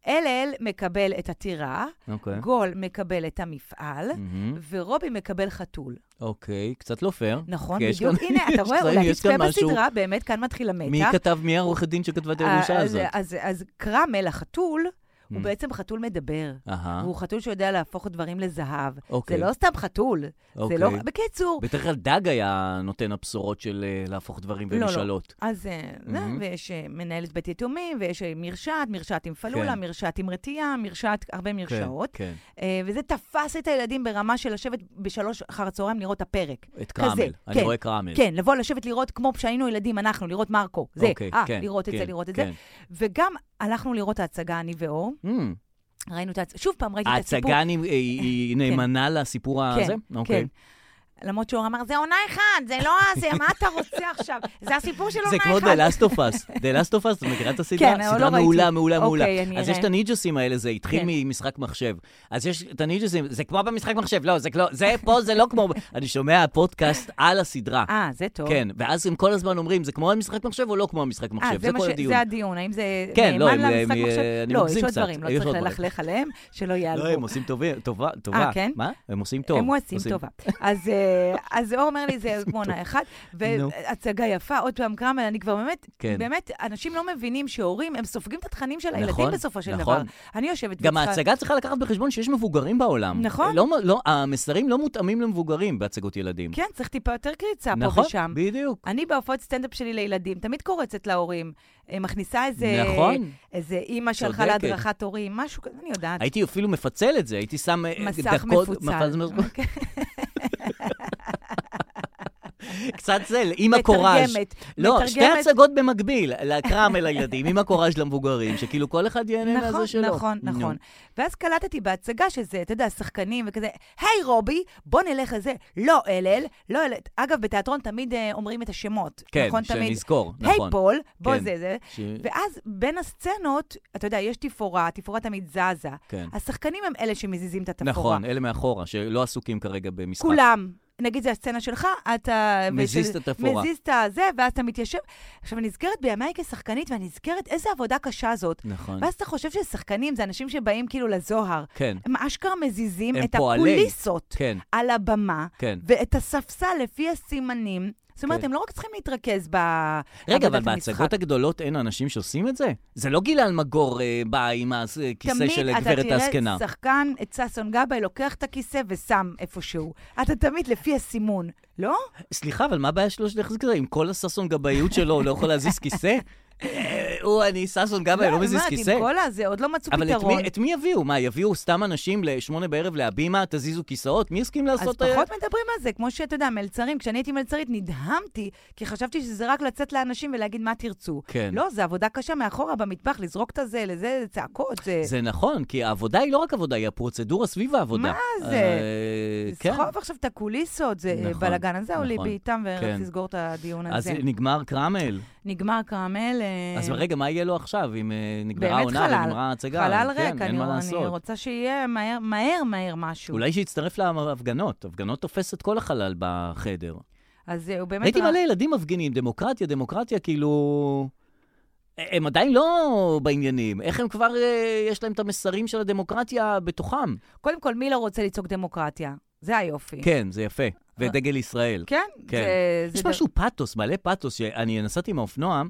אלל מקבל את הטירה, אוקיי. גול מקבל את המפעל, מהמם. ורובי מקבל חתול. אוקיי, קצת לא פייר. נכון, כי יש בדיוק. כאן- הנה, <laughs> אתה יש רואה, כאן- אולי יש כאן תצפה משהו- בסדרה, באמת כאן מתחיל המתח. מי כתב, מי העורכת דין שכתבה את אה, הירושה אז- הזאת? אז- אז קרמל, החתול, הוא Mm. בעצם חתול מדבר. אהה, והוא חתול שיודע להפוך דברים לזהב. זה אוקיי. לא סתם חתול. זה אוקיי. לא... בקיצור, בדרך כלל דג היה נותן הבשורות של אה, להפוך דברים לא, לא. ומשאלות. אז אה, זה, מהמם. ויש אה, מנהלת בית יתומים, ויש אה, מרשעת, מרשעת עם פלולה, כן. מרשעת עם רטייה, מרשעת, הרבה כן, מרשעות. כן, אה, וזה תפס את הילדים ברמה של לשבת בשלוש אחר הצהריים לראות את הפרק. את כזה, קרמל. אני כן, רואה קרמל. כן, לבוא לשבת לראות כמו כשהיינו ילדים, אנחנו, לראות מרקו. זה, אוקיי, אה, כן, לראות את כן, זה, לראות את זה. כן. וגם הלכנו לראות ההצגה, אני ואור. אמ, ראינו את ההצגה, שוב פעם ראיתי את הסיפור. ההצגה אני- היא- היא נאמנה לסיפור הזה? אוקיי. כן. למרות שהוא אמר, זה עונה אחת, זה לא <laughs> זה, מה אתה רוצה עכשיו? זה הסיפור של זה עונה כמו אחת. The Last of Us. The Last of Us, את מכירה את הסדרה? כן, אבל לא סדרה ראיתי. מעולה, מעולה, אוקיי, מעולה. אני אז אראה. יש את הניג'וסים האלה, זה התחיל כן. ממשחק מחשב. אז יש את הניג'וסים, זה כמו במשחק מחשב, לא, זה לא, זה פה, זה לא כמו... אני שומע פודקאסט על הסדרה. אה, זה טוב. כן, ואז הם כל הזמן אומרים, זה כמו המשחק מחשב או לא כמו המשחק אה, מחשב? זה זה מה כל ש- הדיון. זה הדיון, האם זה כן, לא, נאמן הם- למשחק הם- מחשב? אני לא, מגזים יש עוד קצת, דברים, לא יש צריך עוד דברים. ללכלך עליהם, שלא לא, הם ייעלבו. עושים טובה, טובה, טובה. כן? מה? הם עושים טוב. הם עושים טובה. אז, אה, אז אור אומר <laughs> לי, זה כמו עונה אחת, נו. והצגה יפה, עוד פעם קרמל, אני כבר באמת, כן. באמת, אנשים לא מבינים שהורים, הם סופגים את התכנים של הילדים נכון, בסופו של דבר. נכון. אני יושבת גם וצריכה- ההצגה צריכה לקחת בחשבון שיש מבוגרים בעולם. נכון. לא, לא, המסרים לא מותאמים למבוגרים בהצגות ילדים. כן, צריך טיפה יותר קריצה פה נכון, ושם. בדיוק. אני בהופעות סטנדאפ שלי לילדים, תמיד קורצת להורים. אה, מכניסה איזה... נכון. איזה אימא שהלכה צודקת. להדרכת הורים, משהו כזה, אני יודעת. הייתי אפילו מפצל את זה, הייתי שם אה, מסך דקות, מפוצל. מפ- אוקיי. קצת זה, עם הקוראז'. כן, מתרגמת. לא, שתי מתרגמת. הצגות במקביל, לקרם אל הילדים, עם הקוראז' למבוגרים, שכאילו כל אחד ייהנה נכון, מהזה שלו. נכון, נו. נכון. ואז קלטתי בהצגה שזה, אתה יודע, שחקנים וכזה, היי רובי, בוא נלך לזה, לא אלל, לא אלל. אגב, בתיאטרון תמיד אה, אומרים את השמות, כן, נכון? תמיד. שנזכור, היי נכון. פול, בוא כן. זה זה. ש- ואז בין הסצנות, אתה יודע, יש תפאורה, התפאורה תמיד זזה. כן. השחקנים הם אלה שמזיזים את התפאורה. נכון, אלה מאחורה, שלא עסוקים כרגע במשחק. כולם. נגיד, זו הסצנה שלך, אתה... מזיז ושל- את התפאורה. מזיז את הזה, ואז אתה מתיישב. עכשיו, אני נזכרת בימיי כשחקנית, ואני נזכרת איזה עבודה קשה זאת. נכון. ואז אתה חושב ששחקנים זה אנשים שבאים כאילו לזוהר. כן. הם אשכרה מזיזים הם את פועלי. הקוליסות כן. על הבמה, כן. ואת הספסל לפי הסימנים. זאת אומרת, כן. הם לא רק צריכים להתרכז ב... רגע, אבל עבודת המשחק. בהצגות הגדולות אין אנשים שעושים את זה? זה לא גיל אלמגור אה, בא עם הכיסא של הגברת תמיד הזקנה. אתה תראה שחקן, את ששון גבאי, לוקח את הכיסא ושם איפשהו. אתה תמיד לפי הסימון, לא? סליחה, אבל מה הבעיה שלו שתחזיק את זה? עם כל הששון גבאיות שלו, הוא לא יכול להזיז כיסא? אה, הוא, אני ששון גבאי, לא מזיז כיסא. עם כל הזה, עוד לא מצאו אבל את פתרון. מי- את מי יביאו? מה, יביאו סתם אנשים לשמונה בערב להבימה, תזיזו כיסאות? מי יסכים אז לעשות... אה, פחות מדברים על זה, כמו שאתה יודע, מלצרים, כשאני הייתי מלצרית נדהמתי, כי חשבתי שזה רק לצאת לאנשים ולהגיד מה תרצו. כן. לא, זה עבודה קשה מאחורה במטבח, לזרוק את הזה, לזה, זה צעקות, זה... זה נכון, כי העבודה היא לא רק עבודה, היא הפרוצדורה סביב העבודה. מה זה? אה, כן. לסחוב עכשיו את הקוליסות, זה נכון, בלאגן, אז זהו לי נכון. בעיטם, כן. ורק תסגור את הדיון אז הזה. נגמר קרמל. נגמר כרמל. אה, אז רגע, מה יהיה לו עכשיו, אם אה, נגמרה באמת העונה חלל. ונגמרה ההצגה? חלל כן, ריק, אין אני מה אני לעשות. רוצה שיהיה מהר, מהר, מהר משהו. אולי שיצטרף להפגנות, הפגנות תופס את כל החלל בחדר. אז אה, הוא באמת... ראיתי לא- מלא ילדים מפגינים, דמוקרטיה, דמוקרטיה, כאילו... הם עדיין לא בעניינים, איך הם כבר, אה, יש להם את המסרים של הדמוקרטיה בתוכם. קודם כל, מי לא רוצה לצעוק דמוקרטיה? זה היופי. כן, זה יפה. ודגל ישראל. כן? כן. זה- זה יש ד- משהו פאתוס, מלא פאתוס, שאני נסעתי עם האופנוע,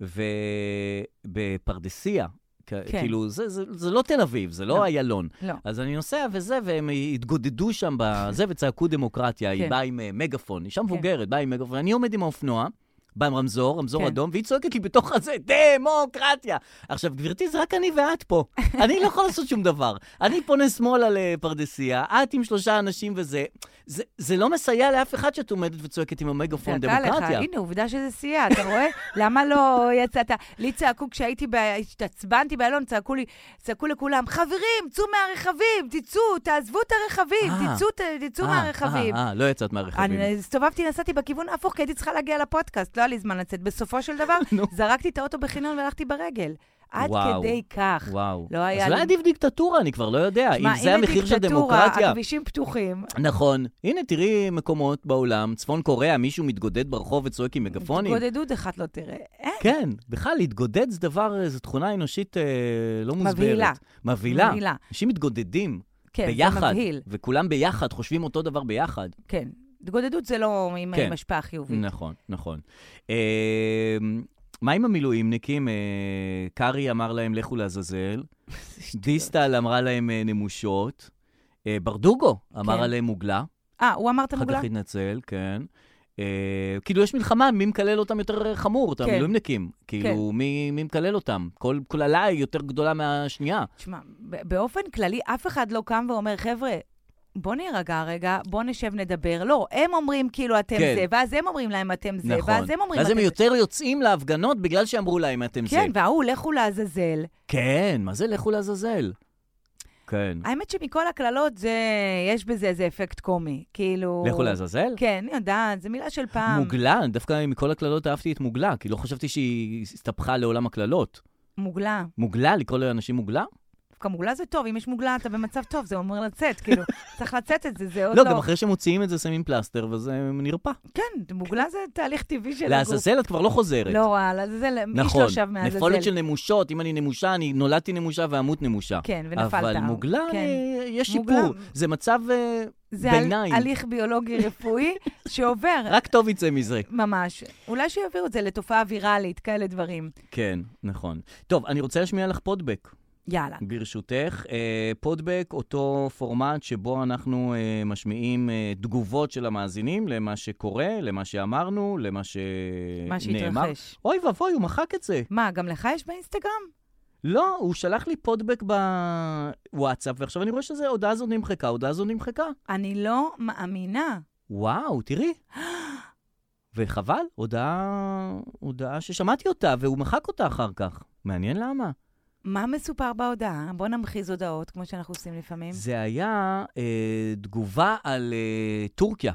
ובפרדסיה, כן. כן. כאילו, זה, זה, זה לא תל אביב, זה לא, לא. איילון. לא. אז אני נוסע וזה, והם התגודדו שם בזה וצעקו דמוקרטיה, היא כן. באה עם אה, מגפון, אישה מבוגרת, באה עם מגפון, אני עומד עם האופנוע. בא עם רמזור, רמזור כן. אדום, והיא צועקת לי בתוך הזה, דמוקרטיה. עכשיו, גברתי, זה רק אני ואת <laughs> פה. אני לא יכול לעשות שום דבר. אני פונה שמאלה לפרדסיה, את עם שלושה אנשים וזה. זה, זה לא מסייע לאף אחד שאת עומדת וצועקת עם המגפון דקה לך, דמוקרטיה. הנה, עובדה שזה סייע, אתה רואה? <laughs> למה לא יצאת? לי צעקו, כשהייתי, ב- התעצבנתי באלון, צעקו לי, צעקו לכולם, חברים, צאו מהרכבים, תצאו, תעזבו את הרכבים, אה. תצאו, ת- תצאו אה, מהרכבים. אה, אה, לא יצאת מהרכבים. אני הסתובבתי, נסעתי בכיוון ההפוך, כי הייתי צריכה להגיע לפודקאסט, לא היה לי זמן לצאת. בסופו של דבר, <laughs> נו. זרקתי את האוטו בחניון והלכתי ברגל. עד וואו. כדי כך. וואו. לא היה אז אולי לי- עדיף דיקטטורה, אני כבר לא יודע. שמע, אם זה הנה המחיר של דיקטטורה, דמוקרטיה. הכבישים פתוחים. נכון. הנה, תראי מקומות בעולם, צפון קוריאה, מישהו מתגודד ברחוב וצועק עם מגפונים. התגודדות אחת לא תראה. אין, כן, בכלל, להתגודד זה דבר, אה, זו תכונה אנושית אה, לא מוסברת. מבהילה. מבהילה. מבהילה. אנשים מתגודדים כן, זה ביחד, מבהיל. וכולם ביחד, חושבים אותו דבר ביחד. כן. התגודדות זה לא עם כן. עם השפעה חיובית. נכון, נכון. אה, מה עם המילואימניקים? אה, קרעי אמר להם, לכו <laughs> לעזאזל. דיסטל אמרה להם אה, נמושות. אה, ברדוגו אמר כן. עליהם מוגלה. אה, הוא אמר את אחר המוגלה? כך התנצל, כן. אה, כאילו, יש מלחמה, מי מקלל אותם יותר אה, חמור, את כן. המילואימניקים. כאילו, מי מי מקלל אותם? כל קללה היא יותר גדולה מהשנייה. תשמע, ב- באופן כללי, אף אחד לא קם ואומר, חבר'ה, בוא נירגע רגע, בוא נשב נדבר. לא, הם אומרים כאילו אתם כן. זה, ואז הם אומרים להם אתם זה, נכון. ואז הם אומרים ואז אתם הם זה. יותר יוצאים להפגנות בגלל שאמרו להם אתם זה. כן, וההוא, לכו לעזאזל. כן, מה זה לכו לעזאזל? כן. האמת שמכל הקללות, זה, יש בזה איזה אפקט קומי. כאילו... לכו לעזאזל? כן, אה. אני יודעת, זו מילה של פעם. מוגלה, דווקא מכל הקללות אהבתי את מוגלה, כי לא חשבתי שהיא הסתבכה לעולם הקללות. מוגלה. מוגלה, לקרוא לאנשים מוגלה? דווקא מוגלה זה טוב, אם יש מוגלה אתה במצב טוב, זה אומר <laughs> לצאת, כאילו, צריך לצאת את זה, זה עוד לא, לא. גם אחרי שמוציאים את זה שמים פלסטר וזה נרפא. כן, מוגלה זה תהליך טבעי של הגוף. לעזאזל את כבר לא חוזרת. לא, רע, לעזאזל, איש נכון. לא שב מעזאזל. נפולת של נמושות, אם אני נמושה, אני נולדתי נמושה ואמות נמושה. כן, ונפלת. אבל מוגלה, כן. אה, יש מוגלה. שיפור. זה מצב אה, זה הל- ביניים. הליך ביולוגי <laughs> רפואי שעובר. רק טוב יצא מזה. ממש. אולי שיעבירו את זה לתופעה ויראלית, כאלה דברים. כן, נכון. טוב, אני רוצה להשמיע לך פודבק. יאללה. ברשותך, אה, פודבק, אותו פורמט שבו אנחנו אה, משמיעים אה, תגובות של המאזינים למה שקורה, למה שאמרנו, למה שנאמר. מה שהתרחש. אוי ואבוי, הוא מחק את זה. מה, גם לך יש באינסטגרם? לא, הוא שלח לי פודבק בוואטסאפ, ועכשיו אני רואה שזה, הודעה זו נמחקה, הודעה זו נמחקה. אני לא מאמינה. וואו, תראי. וחבל, הודעה, הודעה ששמעתי אותה, והוא מחק אותה אחר כך. מעניין למה. מה מסופר בהודעה? בוא נמחיז הודעות, כמו שאנחנו עושים לפעמים. זה היה אה, תגובה על אה, טורקיה.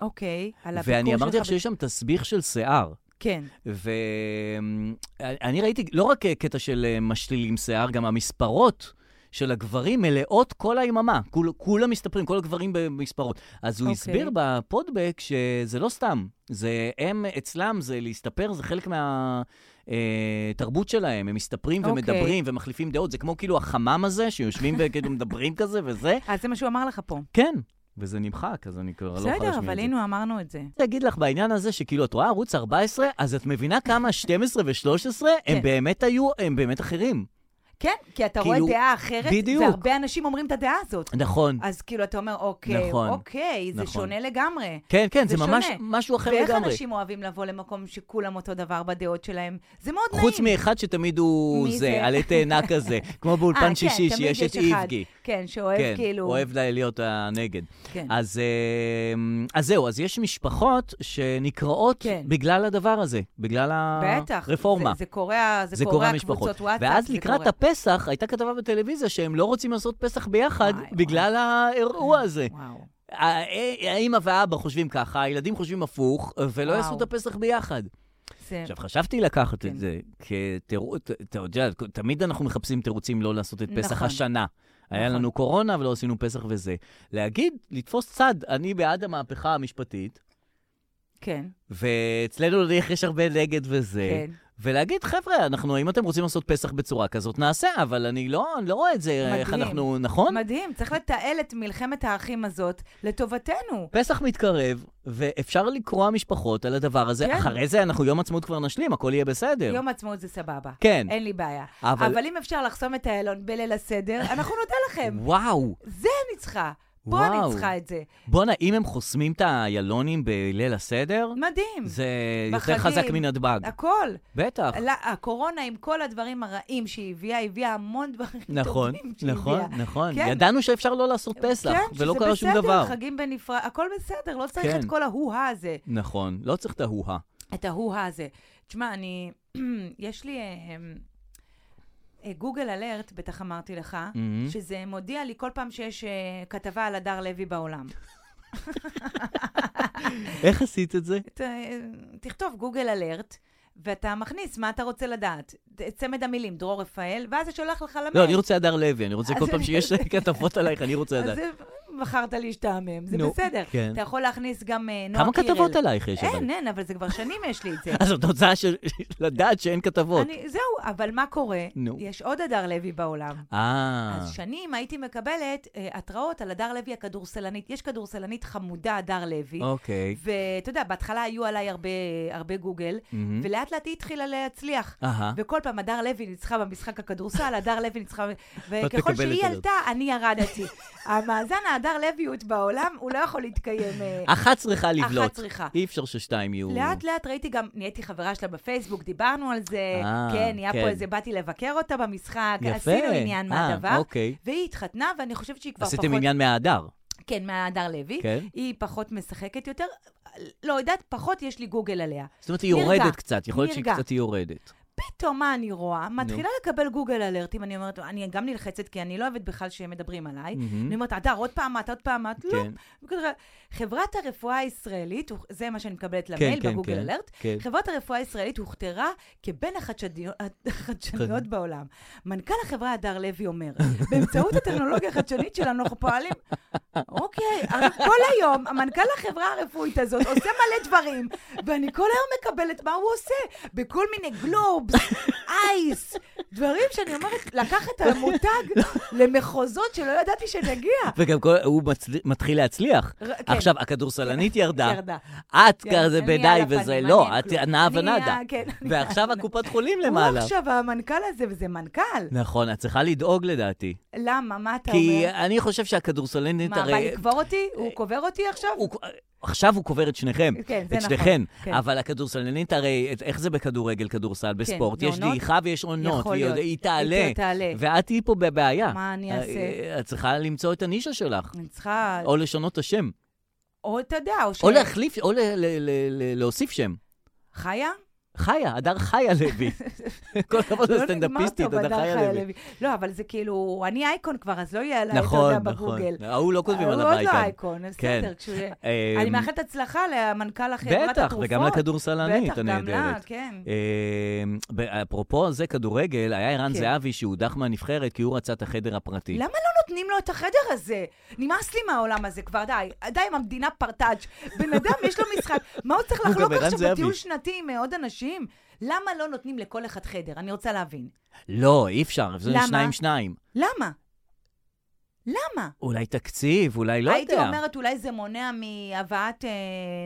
אוקיי, על הביקור שלך. ואני אמרתי לך ב- שיש שם תסביך של שיער. כן. ואני ראיתי לא רק אה, קטע של אה, משלילים שיער, גם המספרות של הגברים מלאות כל היממה. כול, כולם מסתפרים, כל הגברים במספרות. אז הוא okay. אוקיי. הסביר בפודבק שזה לא סתם. זה הם, אצלם זה להסתפר, זה חלק מה... אה, תרבות שלהם, הם מסתפרים okay. אוקיי. ומדברים ומחליפים דעות, זה כמו כאילו החמם הזה, שיושבים וכאילו מדברים כזה וזה. אז זה מה שהוא אמר לך פה. כן, וזה נמחק, אז אני כבר לא יכולה להשמיע את בסדר, זה. אבל הנה אמרנו את זה. רוצה להגיד לך בעניין הזה, שכאילו, את רואה ערוץ 14, אז את מבינה כמה 12 ו-13 הם כן. באמת היו, הם באמת אחרים. כן, כי אתה כאילו, רואה דעה אחרת, בדיוק. והרבה אנשים אומרים את הדעה הזאת. נכון. אז כאילו, אתה אומר, אוקיי, נכון, אוקיי, זה נכון. שונה לגמרי. כן, כן, זה זה ממש שונה. משהו אחר ואיך לגמרי. אנשים אוהבים לבוא למקום שכולם אותו דבר בדעות שלהם? זה מאוד נעים. חוץ מאחד שתמיד הוא מי זה, זה? עלה תאנה <laughs> כזה, כמו אה, באולפן כן, שישי, תמיד שיש את אחד. איבגי. כן, שאוהב כאילו... אוהב לה- להיות הנגד. כן. אז, אה, אז זהו, אז יש משפחות שנקרעות כן. בגלל הדבר הזה, בגלל בטח. הרפורמה. זה- זה קורע, זה קורע קבוצות וואטסאפ. ואז זה לקראת קורע. הפסח, הייתה כתבה בטלוויזיה שהם לא רוצים לעשות פסח ביחד וואי, וואי. בגלל האירוע הזה. וואו. הא- האמא והאבא חושבים ככה, הילדים חושבים הפוך, ולא וואו. יעשו את הפסח ביחד. זה... עכשיו, חשבתי לקחת את כן. זה כתירוץ, אתה יודע, תמיד אנחנו מחפשים תירוצים לא לעשות את פסח נכון. השנה. היה נכון. לנו קורונה ולא עשינו פסח וזה. להגיד, לתפוס צד, אני בעד המהפכה המשפטית, כן, ואצלנו נניח יש הרבה נגד וזה, כן. ולהגיד, חבר'ה, אנחנו, אם אתם רוצים לעשות פסח בצורה כזאת, נעשה, אבל אני לא, אני לא רואה את זה, איך מדהים. אנחנו, נכון? מדהים, צריך לתעל את מלחמת האחים הזאת לטובתנו. פסח מתקרב, ואפשר לקרוע משפחות על הדבר הזה. כן. אחרי זה אנחנו יום עצמאות כבר נשלים, הכל יהיה בסדר. יום עצמאות זה סבבה. כן. אין לי בעיה. אבל- אבל... אבל אם אפשר לחסום את איילון בליל הסדר, אנחנו נודה <laughs> לכם. וואו, זה אני צריכה. פה וואו. אני צריכה את זה. בואנה, אם הם חוסמים את האיילונים בליל הסדר, מדהים. זה יותר בחגים, אה, חזק מנתב"ג. הכל. בטח. לא, הקורונה עם כל הדברים הרעים שהיא הביאה, הביאה המון דברים נכון, טובים שהיא נכון, הביאה. נכון. כן. ידענו שאפשר לא לעשות פסח, כן, ולא שזה קרה שום בסדר, דבר. חגים בנפרד, הכל בסדר, לא צריך כן. את כל ההוא-הא הזה. נכון, לא צריך את ההוא-הא. את ההוא-הא הזה. תשמע, אני... <clears throat> יש לי אה, אה, גוגל אלרט, בטח אמרתי לך, מהמם. שזה מודיע לי כל פעם שיש אה, כתבה על הדר לוי בעולם. איך עשית את זה? ת- אה, תכתוב גוגל אלרט. ואתה מכניס מה אתה רוצה לדעת. ת- צמד המילים, דרור רפאל, ואז זה שולח לך למייל. לא, אני רוצה הדר לוי, אני רוצה <laughs> אז כל פעם אני- שיש כתבות עלייך, אני רוצה לדעת. אז זה- בחרת להשתעמם, זה נו, בסדר. כן. אתה יכול להכניס גם אה, נועה כמה קירל. כתבות עלייך יש אבל? אין, אין, אבל זה כבר שנים יש לי <laughs> את זה. אז זאת תוצאה של לדעת שאין כתבות. אני- זהו, אבל מה קורה? נו. יש עוד הדר לוי בעולם. אה, אז שנים הייתי מקבלת אה, התראות על הדר לוי הכדורסלנית. יש כדורסלנית חמודה, הדר לוי. אוקיי. ואתה יודע, בהתחלה היו עליי הרבה, הרבה גוגל, מהמם. ולאט לאט היא התחילה להצליח. אהה. וכל פעם הדר לוי ניצחה <laughs> במשחק הכדורסל, הדר לוי ניצחה... וככל מקבלת שהיא עליו. עלתה, אני <laughs> ירדתי. המאזן ההדר לויות בעולם, הוא לא יכול להתקיים. אה, אחת צריכה לבלוט. צריכה. אי אפשר ששתיים יהיו... לאט לאט ראיתי גם, נהייתי חברה שלה בפייסבוק, דיברנו על זה, אה, כן, נהיה כן. פה איזה, באתי לבקר אותה במשחק, יפה. עשינו עניין אה, מהדבר, אוקיי. והיא התחתנה, ואני חושבת שהיא כבר פחות... עשיתם עניין מההדר. כן, מהדר לוי. כן. היא פחות משחקת יותר, לא יודעת, פחות יש לי גוגל עליה. זאת אומרת, היא נרגע. יורדת קצת, יכול להיות שהיא נרגע. קצת היא יורדת. פתאום מה אני רואה? מתחילה לקבל גוגל אלרטים, אני אומרת, אני גם נלחצת, כי אני לא אוהבת בכלל שמדברים עליי. מהמם. אני אומרת, הדר, עוד פעם את, עוד פעם את, לא. כן. בגלל- חברת הרפואה הישראלית, זה מה שאני מקבלת כן, למייל כן, בגוגל כן, אלרט, כן. חברת הרפואה הישראלית הוכתרה כבין החדשדיו- החדשניות כן. בעולם. מנכ"ל החברה הדר לוי אומר, באמצעות הטכנולוגיה החדשנית שלנו אנחנו פועלים... אוקיי, אבל כל היום המנכ"ל החברה הרפואית הזאת עושה מלא דברים, ואני כל היום מקבלת מה הוא עושה, בכל מיני גלובס, אייס, דברים שאני אומרת, לקחת את המותג למחוזות שלא ידעתי שנגיע. וגם כל- הוא מצל- מתחיל להצליח. ר- כן. עכשיו, הכדורסלנית ירדה. ירדה. את כן, כזה אני בדי על הפנים, וזה, אני לא, אין את כלום. נעה אני, ונאדה. אה, כן, אני ועכשיו נעה. הקופת חולים הוא למעלה. עכשיו המנכ"ל הזה, וזה מנכ"ל. נכון, את צריכה לדאוג לדעתי. למה? מה אתה כי אומר? אני חושב שהכדורסלנית מה, בא הרי... לקבור אותי? הוא קובר אותי עכשיו? הוא- עכשיו הוא קובר את שניכם, כן, זה את נכון, שניכן, כן. אבל הכדורסלנית הרי, את- איך זה בכדורגל, כדורסל, בספורט? יש בעונות? דעיכה ויש עונות, יכול והיא להיות. היא תעלה, היא תעלה. ואת תהיי פה בבעיה. אה, מה אני אעשה? את צריכה למצוא את הנישה שלך, אני צריכה... או לשנות את השם, או אתה יודע, או ש... או להחליף, או ל- ל- ל- ל- להוסיף שם. <laughs> חיה? חיה, הדר חיה <laughs> לוי. כל הכבוד לא נגמר לסטנדאפיסטית, טוב, הדר הדר חיה לוי. לא, אבל זה כאילו, אני אייקון כבר, אז לא יהיה עליי, אתה נכון, יודע, נכון. בגוגל. ההוא לא כותבים עליו הוא עוד לא אייקון. אייקון, אז בסדר. כשהוא יהיה- אה, אני מאחלת הצלחה למנכ"ל החברת בטח, התרופות. וגם לכדורסלנית בטח, גם לה, הנהדרת. כן. אה, אפרופו זה כדורגל, היה ערן כן. זהבי שהודח מהנבחרת כי הוא רצה את החדר הפרטי. למה לא נותנים לו את החדר הזה? נמאס לי מהעולם הזה כבר, די. די עם המדינה פרטאץ'. בן אדם, יש לו משחק. מה הוא צריך הוא לחלוק גם ערן עכשיו זהבי. בטיול שנתי עם אה, עוד אנשים? למה לא נותנים לכל אחד חדר? אני רוצה להבין. לא, אי אפשר, זה למה? שניים שניים. למה? למה? אולי תקציב, אולי לא הייתי יודע. אומרת, אולי זה מונע מהבאת אה,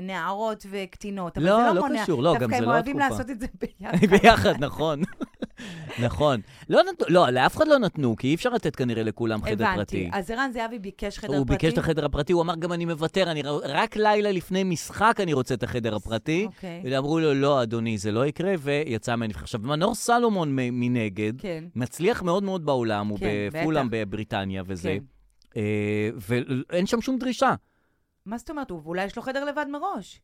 נערות וקטינות, אבל לא, זה לא לא מונע. קשור, לא, גם זה דווקא הם לא <laughs> אוהבים התקופה. לעשות את זה ביחד. ביחד, נכון. <laughs> נכון. לא נתנו, לא, לאף אחד לא נתנו, כי אי אפשר לתת כנראה לכולם חדר הבנתי. פרטי. אז ערן זהבי ביקש חדר הוא פרטי? ביקש את החדר הפרטי, הוא אמר גם אני מוותר, אני ר- רק לילה לפני משחק אני רוצה את החדר הפרטי. אוקיי. ואמרו לו, לא, אדוני, זה לא יקרה, ויצא מהנבחרת. עכשיו, מנור סלומון מ- מנגד, כן. מצליח מאוד מאוד בעולם, הוא כן, בפולאם בטח. בבריטניה וזה, כן. אה, ואין שם שום דרישה. מה זאת אומרת? הוא- אולי יש לו חדר לבד מראש.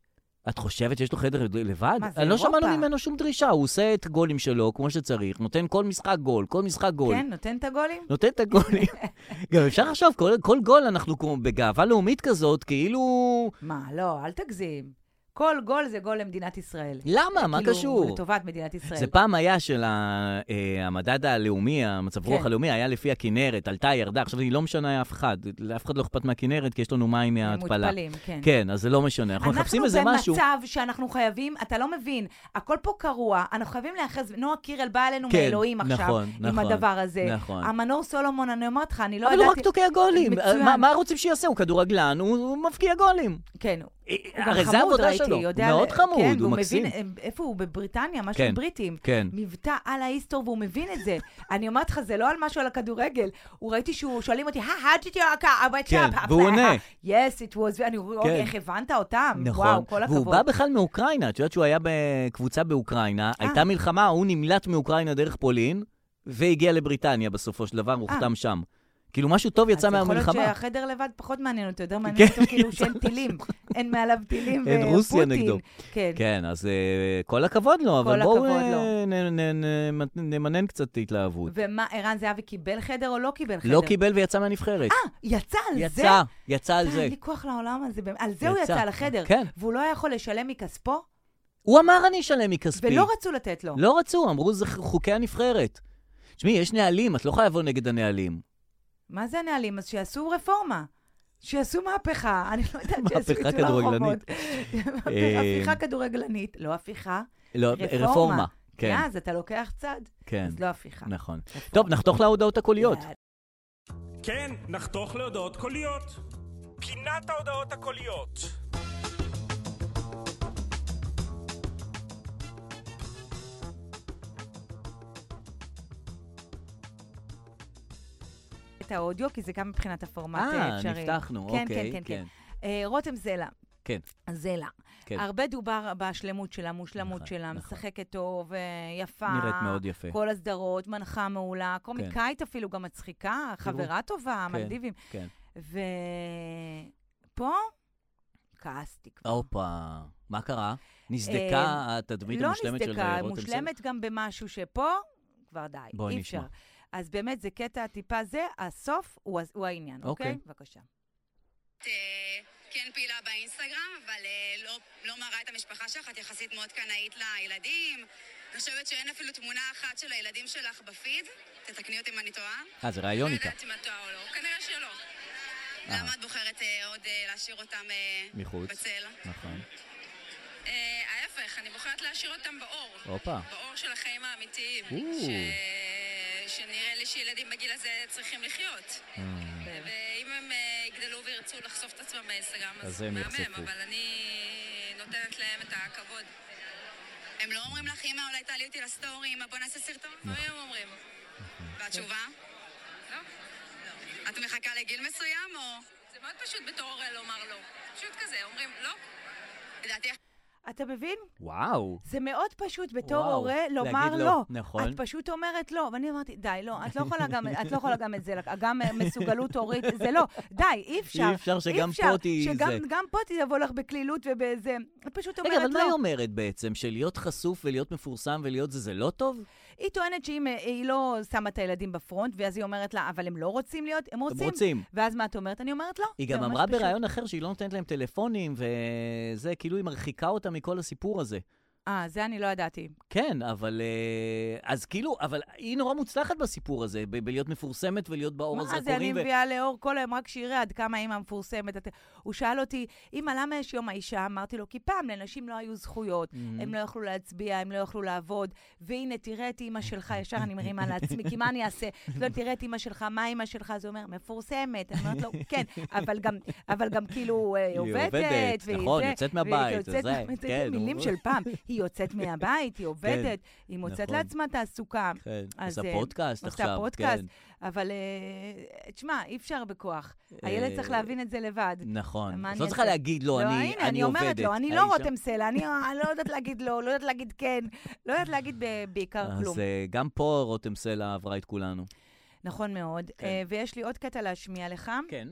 את חושבת שיש לו חדר לבד? מה, זה אני לא אירופה. שמענו ממנו שום דרישה, הוא עושה את הגולים שלו כמו שצריך, נותן כל משחק גול, כל משחק גול. כן, נותן את הגולים? נותן את <laughs> הגולים. גם אפשר לחשוב, כל, כל גול אנחנו כמו בגאווה לאומית כזאת, כאילו... מה, לא, אל תגזים. כל גול זה גול למדינת ישראל. למה? מה כאילו, קשור? לטובת מדינת ישראל. זה פעם היה של ה- אה, המדד הלאומי, המצב רוח כן. הלאומי, היה לפי הכינרת, עלתה, ירדה, עכשיו היא לא משנה אף אחד, לאף אחד לא אכפת מהכינרת, כי יש לנו מים הם מההתפלה. מותפלים, כן. כן, אז זה לא משנה, אנחנו מחפשים איזה משהו. אנחנו במצב שאנחנו חייבים, אתה לא מבין, הכל פה קרוע, אנחנו חייבים להיאחז, נועה קירל באה אלינו כן, מאלוהים עכשיו, נכון, עם נכון, הדבר הזה. נכון. המנור סולומון, אני אומרת לך, אני לא אבל הוא רק ידעתי... תוקע גולים, אה, מצוין. מה- מה רוצים שיעשה? הוא כדורגלן, הוא הוא מבקיע גולים. כן, הוא הרי גם זה חמוד, העבודה ראיתי, שלו. יודע... מאוד ל- חמוד, כן, הוא והוא מקסים. מבין, אה, איפה הוא? בבריטניה, משהו כן, עם בריטים. כן. מבטא על ההיסטור, והוא מבין את זה. <laughs> אני אומרת לך, זה לא על משהו על הכדורגל. הוא ראיתי שהוא, שואלים אותי, how did you work out? כן, והוא עונה. yes, it was, ואני רואה, כן. "אוקיי, איך הבנת אותם? נכון. וואו, כל הכבוד. והוא בא בכלל מאוקראינה, את יודעת שהוא היה בקבוצה באוקראינה, אה. הייתה מלחמה, הוא נמלט מאוקראינה דרך פולין, והגיע לבריטניה בסופו של דבר, הוא אה. חתם שם. כאילו, משהו טוב יצא אז יכול מהמלחמה. כן, להיות שהחדר לבד פחות מעניין אותו, יותר מעניין אותו <laughs> כאילו שאין טילים, אין מעליו טילים ופוטין. אין רוסיה נגדו. כן. כן, אז אה, כל הכבוד לו, אבל כל בואו הכבוד אה, לו. נ- נ- נ- נמנן קצת התלהבות. ומה, ערן זהבי קיבל חדר או לא קיבל חדר? לא קיבל ויצא מהנבחרת. אה, יצא על זה? יצא, יצא על די, זה. אין לי כוח לעולם הזה, באמת. על זה הוא יצא. יצא, על החדר. כן. והוא לא היה יכול לשלם מכספו, הוא אמר, אני אשלם מכספי. ולא רצו לתת לו. לא רצו, אמרו, זה חוקי הנבחרת. תשמעי, יש נהלים, את לא יכולה לבוא נגד <laughs> הנהלים. מה זה הנהלים? אז שיעשו רפורמה. שיעשו מהפכה, <laughs> אני לא נכון. יודעת, שיעשו מהפכה פיצול הרחובות. כדורגלנית. <laughs> אה, הפיכה כדורגלנית, לא הפיכה, לא, רפורמה. רפורמה. כן, כן. אז אתה לוקח צד, כן, אז לא הפיכה. נכון. רפורמה. טוב, נחתוך להודעות הקוליות. כן, נחתוך להודעות קוליות. פינת ההודעות הקוליות. את האודיו, כי זה גם מבחינת הפורמט אה, אה, אפשרי. נפתחנו, כן, אוקיי. כן, כן, כן. אה, רותם זלה. כן. זלה. כן. הרבה דובר בשלמות שלה, מושלמות נכון, שלה, נכון. משחקת טוב, אה, יפה. נראית מאוד יפה. כל הסדרות, מנחה מעולה, קומיקאית אפילו, גם מצחיקה, חברה טובה, כן, מלדיבים. כן. ופה כעסתי כבר. הופה, מה קרה? אה, נסדקה התדמית המושלמת של אה, לא רותם נסדקה, סלע? מושלמת גם במשהו שפה, כבר די, בואי אי נשמע. אפשר. אז באמת, זה קטע טיפה זה, הסוף הוא הס- הוא העניין, אוקיי. אוקיי? בבקשה. את אה, כן פעילה באינסטגרם, אבל אה, לא, לא מראה את המשפחה שלך, את יחסית מאוד קנאית לילדים. אני חושבת שאין אפילו תמונה אחת של הילדים שלך בפיד. תתקני אותי אם אני טועה. אה, זה ראיון לא איתה, יודעת אם את טועה או לא, כנראה שלא. למה את בוחרת אה, עוד אה, להשאיר אותם אה, מחוץ. בצל? נכון. אה, ההפך, אני בוחרת להשאיר אותם באור. הופה. באור של החיים האמיתיים. או. ש... שנראה לי שילדים בגיל הזה צריכים לחיות. כן. ואם הם אה, יגדלו וירצו לחשוף את עצמם באינסטגרם, אז אז הם מהמם, יחשפו. אבל אני נותנת להם את הכבוד. הם לא אומרים לך, אמא, אולי תעלי אותי לסטורי, אמא, בוא נעשה סרטון? נכון. לפעמים הם אומרים. והתשובה? לא. את מחכה לגיל מסוים, או... זה מאוד פשוט בתור הורה לומר לא. פשוט כזה, אומרים לא. לדעתי, אתה מבין? וואו. זה מאוד פשוט בתור וואו, הורה לומר להגיד לא, לא. נכון. את פשוט אומרת לא. ואני אמרתי, די, לא, את לא יכולה גם, את לא יכולה גם את זה, גם מסוגלות הורית, זה לא. די, אי אפשר. אי אפשר שגם אפשר, פה תהיי שגם זה. גם פה תבוא לך בקלילות ובאיזה... את פשוט אומרת רגע, לא. אבל מה היא אומרת בעצם? שלהיות חשוף ולהיות מפורסם ולהיות זה, זה לא טוב? היא טוענת שאם אה, היא לא שמה את הילדים בפרונט, ואז היא אומרת לה, אבל הם לא רוצים להיות, הם רוצים. רוצים. ואז מה את אומרת? אני אומרת לא. היא זה גם ממש אמרה פשוט. בריאיון אחר שהיא לא נותנת להם טלפונים וזה, כאילו היא מרחיקה אותם מכל הסיפור הזה. אה, זה אני לא ידעתי. כן, אבל... אה, אז כאילו, אבל היא נורא מוצלחת בסיפור הזה, ב- בלהיות מפורסמת ולהיות באור מה הזרקורים. זה, אני ו- מביאה לאור כל היום רק שיראה עד כמה אימא מפורסמת. את- הוא שאל אותי, אימא, למה יש יום האישה? אמרתי לו, כי פעם לנשים לא היו זכויות, Mm-hmm. הם לא יכלו להצביע, הם לא יכלו לעבוד, והנה, תראה את אימא שלך, ישר אני מרימה לעצמי, כי מה אני אעשה? לא, תראה את אימא שלך, מה אימא שלך? אז הוא אומר, מפורסמת. אני אומרת לו, כן, אבל גם, אבל גם כאילו, אה, היא עובדת, עובדת, והיא נכון, זה, יוצאת והיא מהבית, יוצאת זה, מהבית, זה כן, מילים הוא- כן, של פעם. היא היא יוצאת מהבית, היא עובדת, היא מוצאת נכון. לעצמה תעסוקה. כן, אז, עושה אה, פודקאסט עכשיו, עושה פודקאסט, כן. אבל אה, תשמע, אי אפשר בכוח. אה, הילד צריך להבין את זה לבד. נכון. מה אז אני לא צריכה אעשה? להגיד, לא, אני עובדת. הנה, אני אומרת לו, אני לא האישה- רותם סלע, אני אני לא יודעת להגיד לא, לא יודעת להגיד כן, לא יודעת להגיד ב- בעיקר כלום. אז אה, גם פה רותם סלע עברה את כולנו. נכון מאוד. כן. אה, ויש לי עוד קטע להשמיע לך. כן.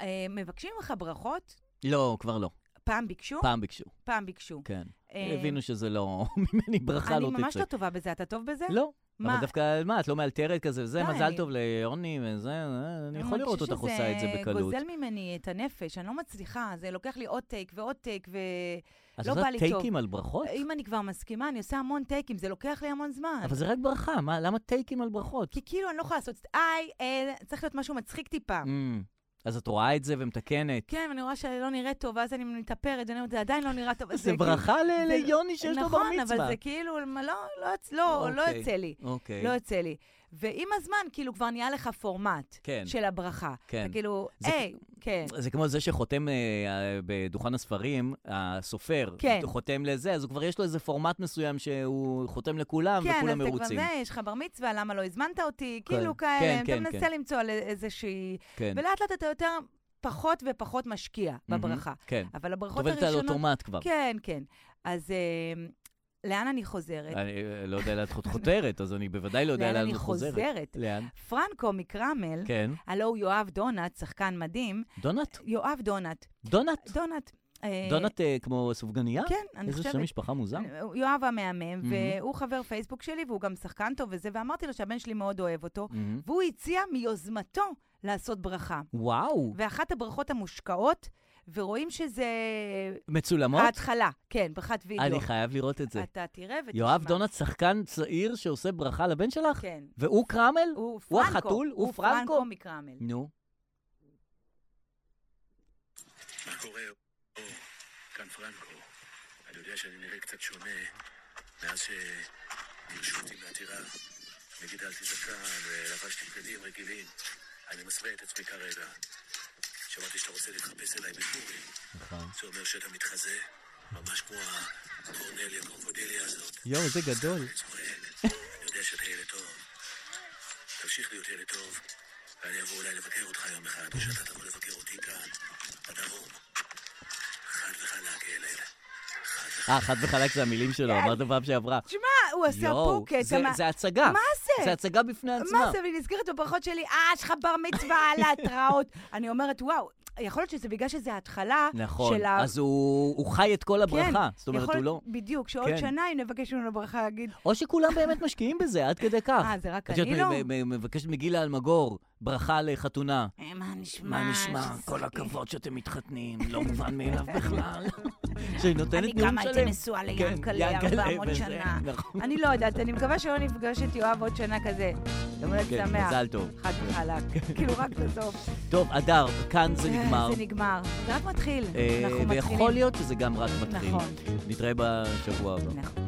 אה, מבקשים ממך ברכות? לא, כבר לא. פעם ביקשו? פעם ביקשו, פעם ביקשו. כן. אה, הבינו שזה לא, <laughs> ממני ברכה לא אני תצא. ממש לא טובה בזה, אתה טוב בזה? לא. מה? אבל דווקא, מה, את לא מאלתרת כזה וזה, לא, מזל אני- טוב ליוני וזה, אה, אני יכול לראות אותך עושה את זה אני בקלות. מרגישה שזה גוזל ממני את הנפש, אני לא מצליחה, זה לוקח לי עוד טייק ועוד טייק, את ולא עושה לא בא לי טוב. אה, טייקים על ברכות? אם אני כבר מסכימה, אני עושה המון טייקים, זה לוקח לי המון זמן. אבל זה רק ברכה, מה- למה טייקים על ברכות? כי כאילו אני לא יכולה לעשות, איי, אל, צריך להיות משהו מצחיק טיפה. אמ, אז את רואה את זה ומתקנת. כן, ואני רואה שלא נראה טוב, ואז אני מתאפרת, ואני אומרת, זה עדיין לא נראה טוב. זה כאילו- ברכה ל- זה- ליוני שיש לו בר מצווה. נכון, אבל זה כאילו, מה, לא, לא, יוצ- לא, לא אוקיי, יוצא לי. אוקיי. לא יוצא לי. ועם הזמן, כאילו, כבר נהיה לך פורמט כן. של הברכה. כן. אתה כאילו, זה היי, כן. זה כמו זה שחותם אה, אה, בדוכן הספרים, הסופר, כן. חותם לזה, אז הוא כבר יש לו איזה פורמט מסוים שהוא חותם לכולם, וכולם כן, אז אתה מרוצים. כבר זה, יש לך בר מצווה, למה לא הזמנת אותי? כן, כאילו כן, כאלה, אתה כן, מנסה כן. למצוא על איזושהי... כן. ולאט לאט אתה יותר, פחות ופחות משקיע בברכה. כן. אבל הברכות עובדת על הראשונות... אוטומט כבר. כן, כן. אז אה, לאן אני חוזרת? אני אה, לא יודע לאן את חותרת, אז אני בוודאי לא יודע לאן לאן אני את חוזרת. חוזרת? לאן? פרנקו מקרמל, כן. הלו הוא יואב דונט, שחקן מדהים, דונלד? יואב דונט, דונלד? דונט. אה, דונלד אה, כמו סופגניה? כן, אני איזה חושבת. אה, שם משפחה מוזר. הוא- יואב המהמם, Mhm. והוא חבר פייסבוק שלי, והוא גם שחקן טוב וזה, ואמרתי לו שהבן שלי מאוד אוהב אותו, Mm-hmm. והוא הציע מיוזמתו לעשות ברכה. וואו, ואחת הברכות המושקעות, ורואים שזה... מצולמות? ההתחלה, כן, ברכת וידאו. אני חייב לראות את זה. אתה תראה ותשמע. יואב דונלד, שחקן צעיר שעושה ברכה לבן שלך? כן. והוא קרמל? הוא הוא פרנקו. החתול? הוא פרנקו? הוא פרנקו מקרמל. נו. מה קורה? או, כאן פרנקו. אני יודע שאני נראה קצת שונה מאז שגירשו אותי בעתירה וגידלתי זקן ולבשתי בגדים רגילים. אני מסווה את עצמי כרגע. שמעתי שאתה רוצה להתחפש אליי בפורים. נכון. זה אומר שאתה מתחזה ממש כמו הקורנליה קרוקודיליה הזאת. יואו, איזה גדול. אני צוחק. אני יודע שאתה ילד טוב. תמשיך להיות ילד טוב, ואני אבוא אולי לבקר אותך יום אחד, או שאתה תבוא לבקר אותי כאן, בדרום. חד וחלק, ילד. אה, חד וחלק זה המילים שלו, אמרת פעם שעברה. תשמע, הוא עשה יואו, פוקט. זה- אמר- זה הצגה. מה זה? זה הצגה בפני עצמה. מה זה, והיא נזכרת בברכות שלי, אה, יש לך בר מצווה <laughs> על ההתראות. אני אומרת, וואו, יכול להיות שזה בגלל שזה ההתחלה נכון, של ה... אז הוא הוא חי את כל הברכה. כן, זאת אומרת, יכול- הוא לא... בדיוק, שעוד כן. שנה אם נבקש ממנו ברכה, להגיד, או שכולם באמת משקיעים בזה, עד כדי כך. אה, זה רק את יודעת, אני לא? מ- מ- מבקשת מגילה אלמגור, ברכה לחתונה. "אה, מה נשמע? מה נשמע? שזה- כל הכבוד שאתם מתחתנים, לא מובן מאליו <laughs> בכלל. שהיא אני נותנת נאום שלם. כן, גם הייתי נשואה ליענקלה 400 וזה, שנה. נכון. אני לא יודעת, אני מקווה שלא נפגש את יואב עוד שנה כזה. יום הולדת כן, שמח. מזל טוב. חד וחלק. כאילו, רק בסוף. טוב, אדר, כאן זה נגמר. כן, אה, זה נגמר. זה רק מתחיל. אה, אנחנו מתחילים. ויכול להיות שזה גם רק מתחיל. נכון. נתראה בשבוע הבא. נכון.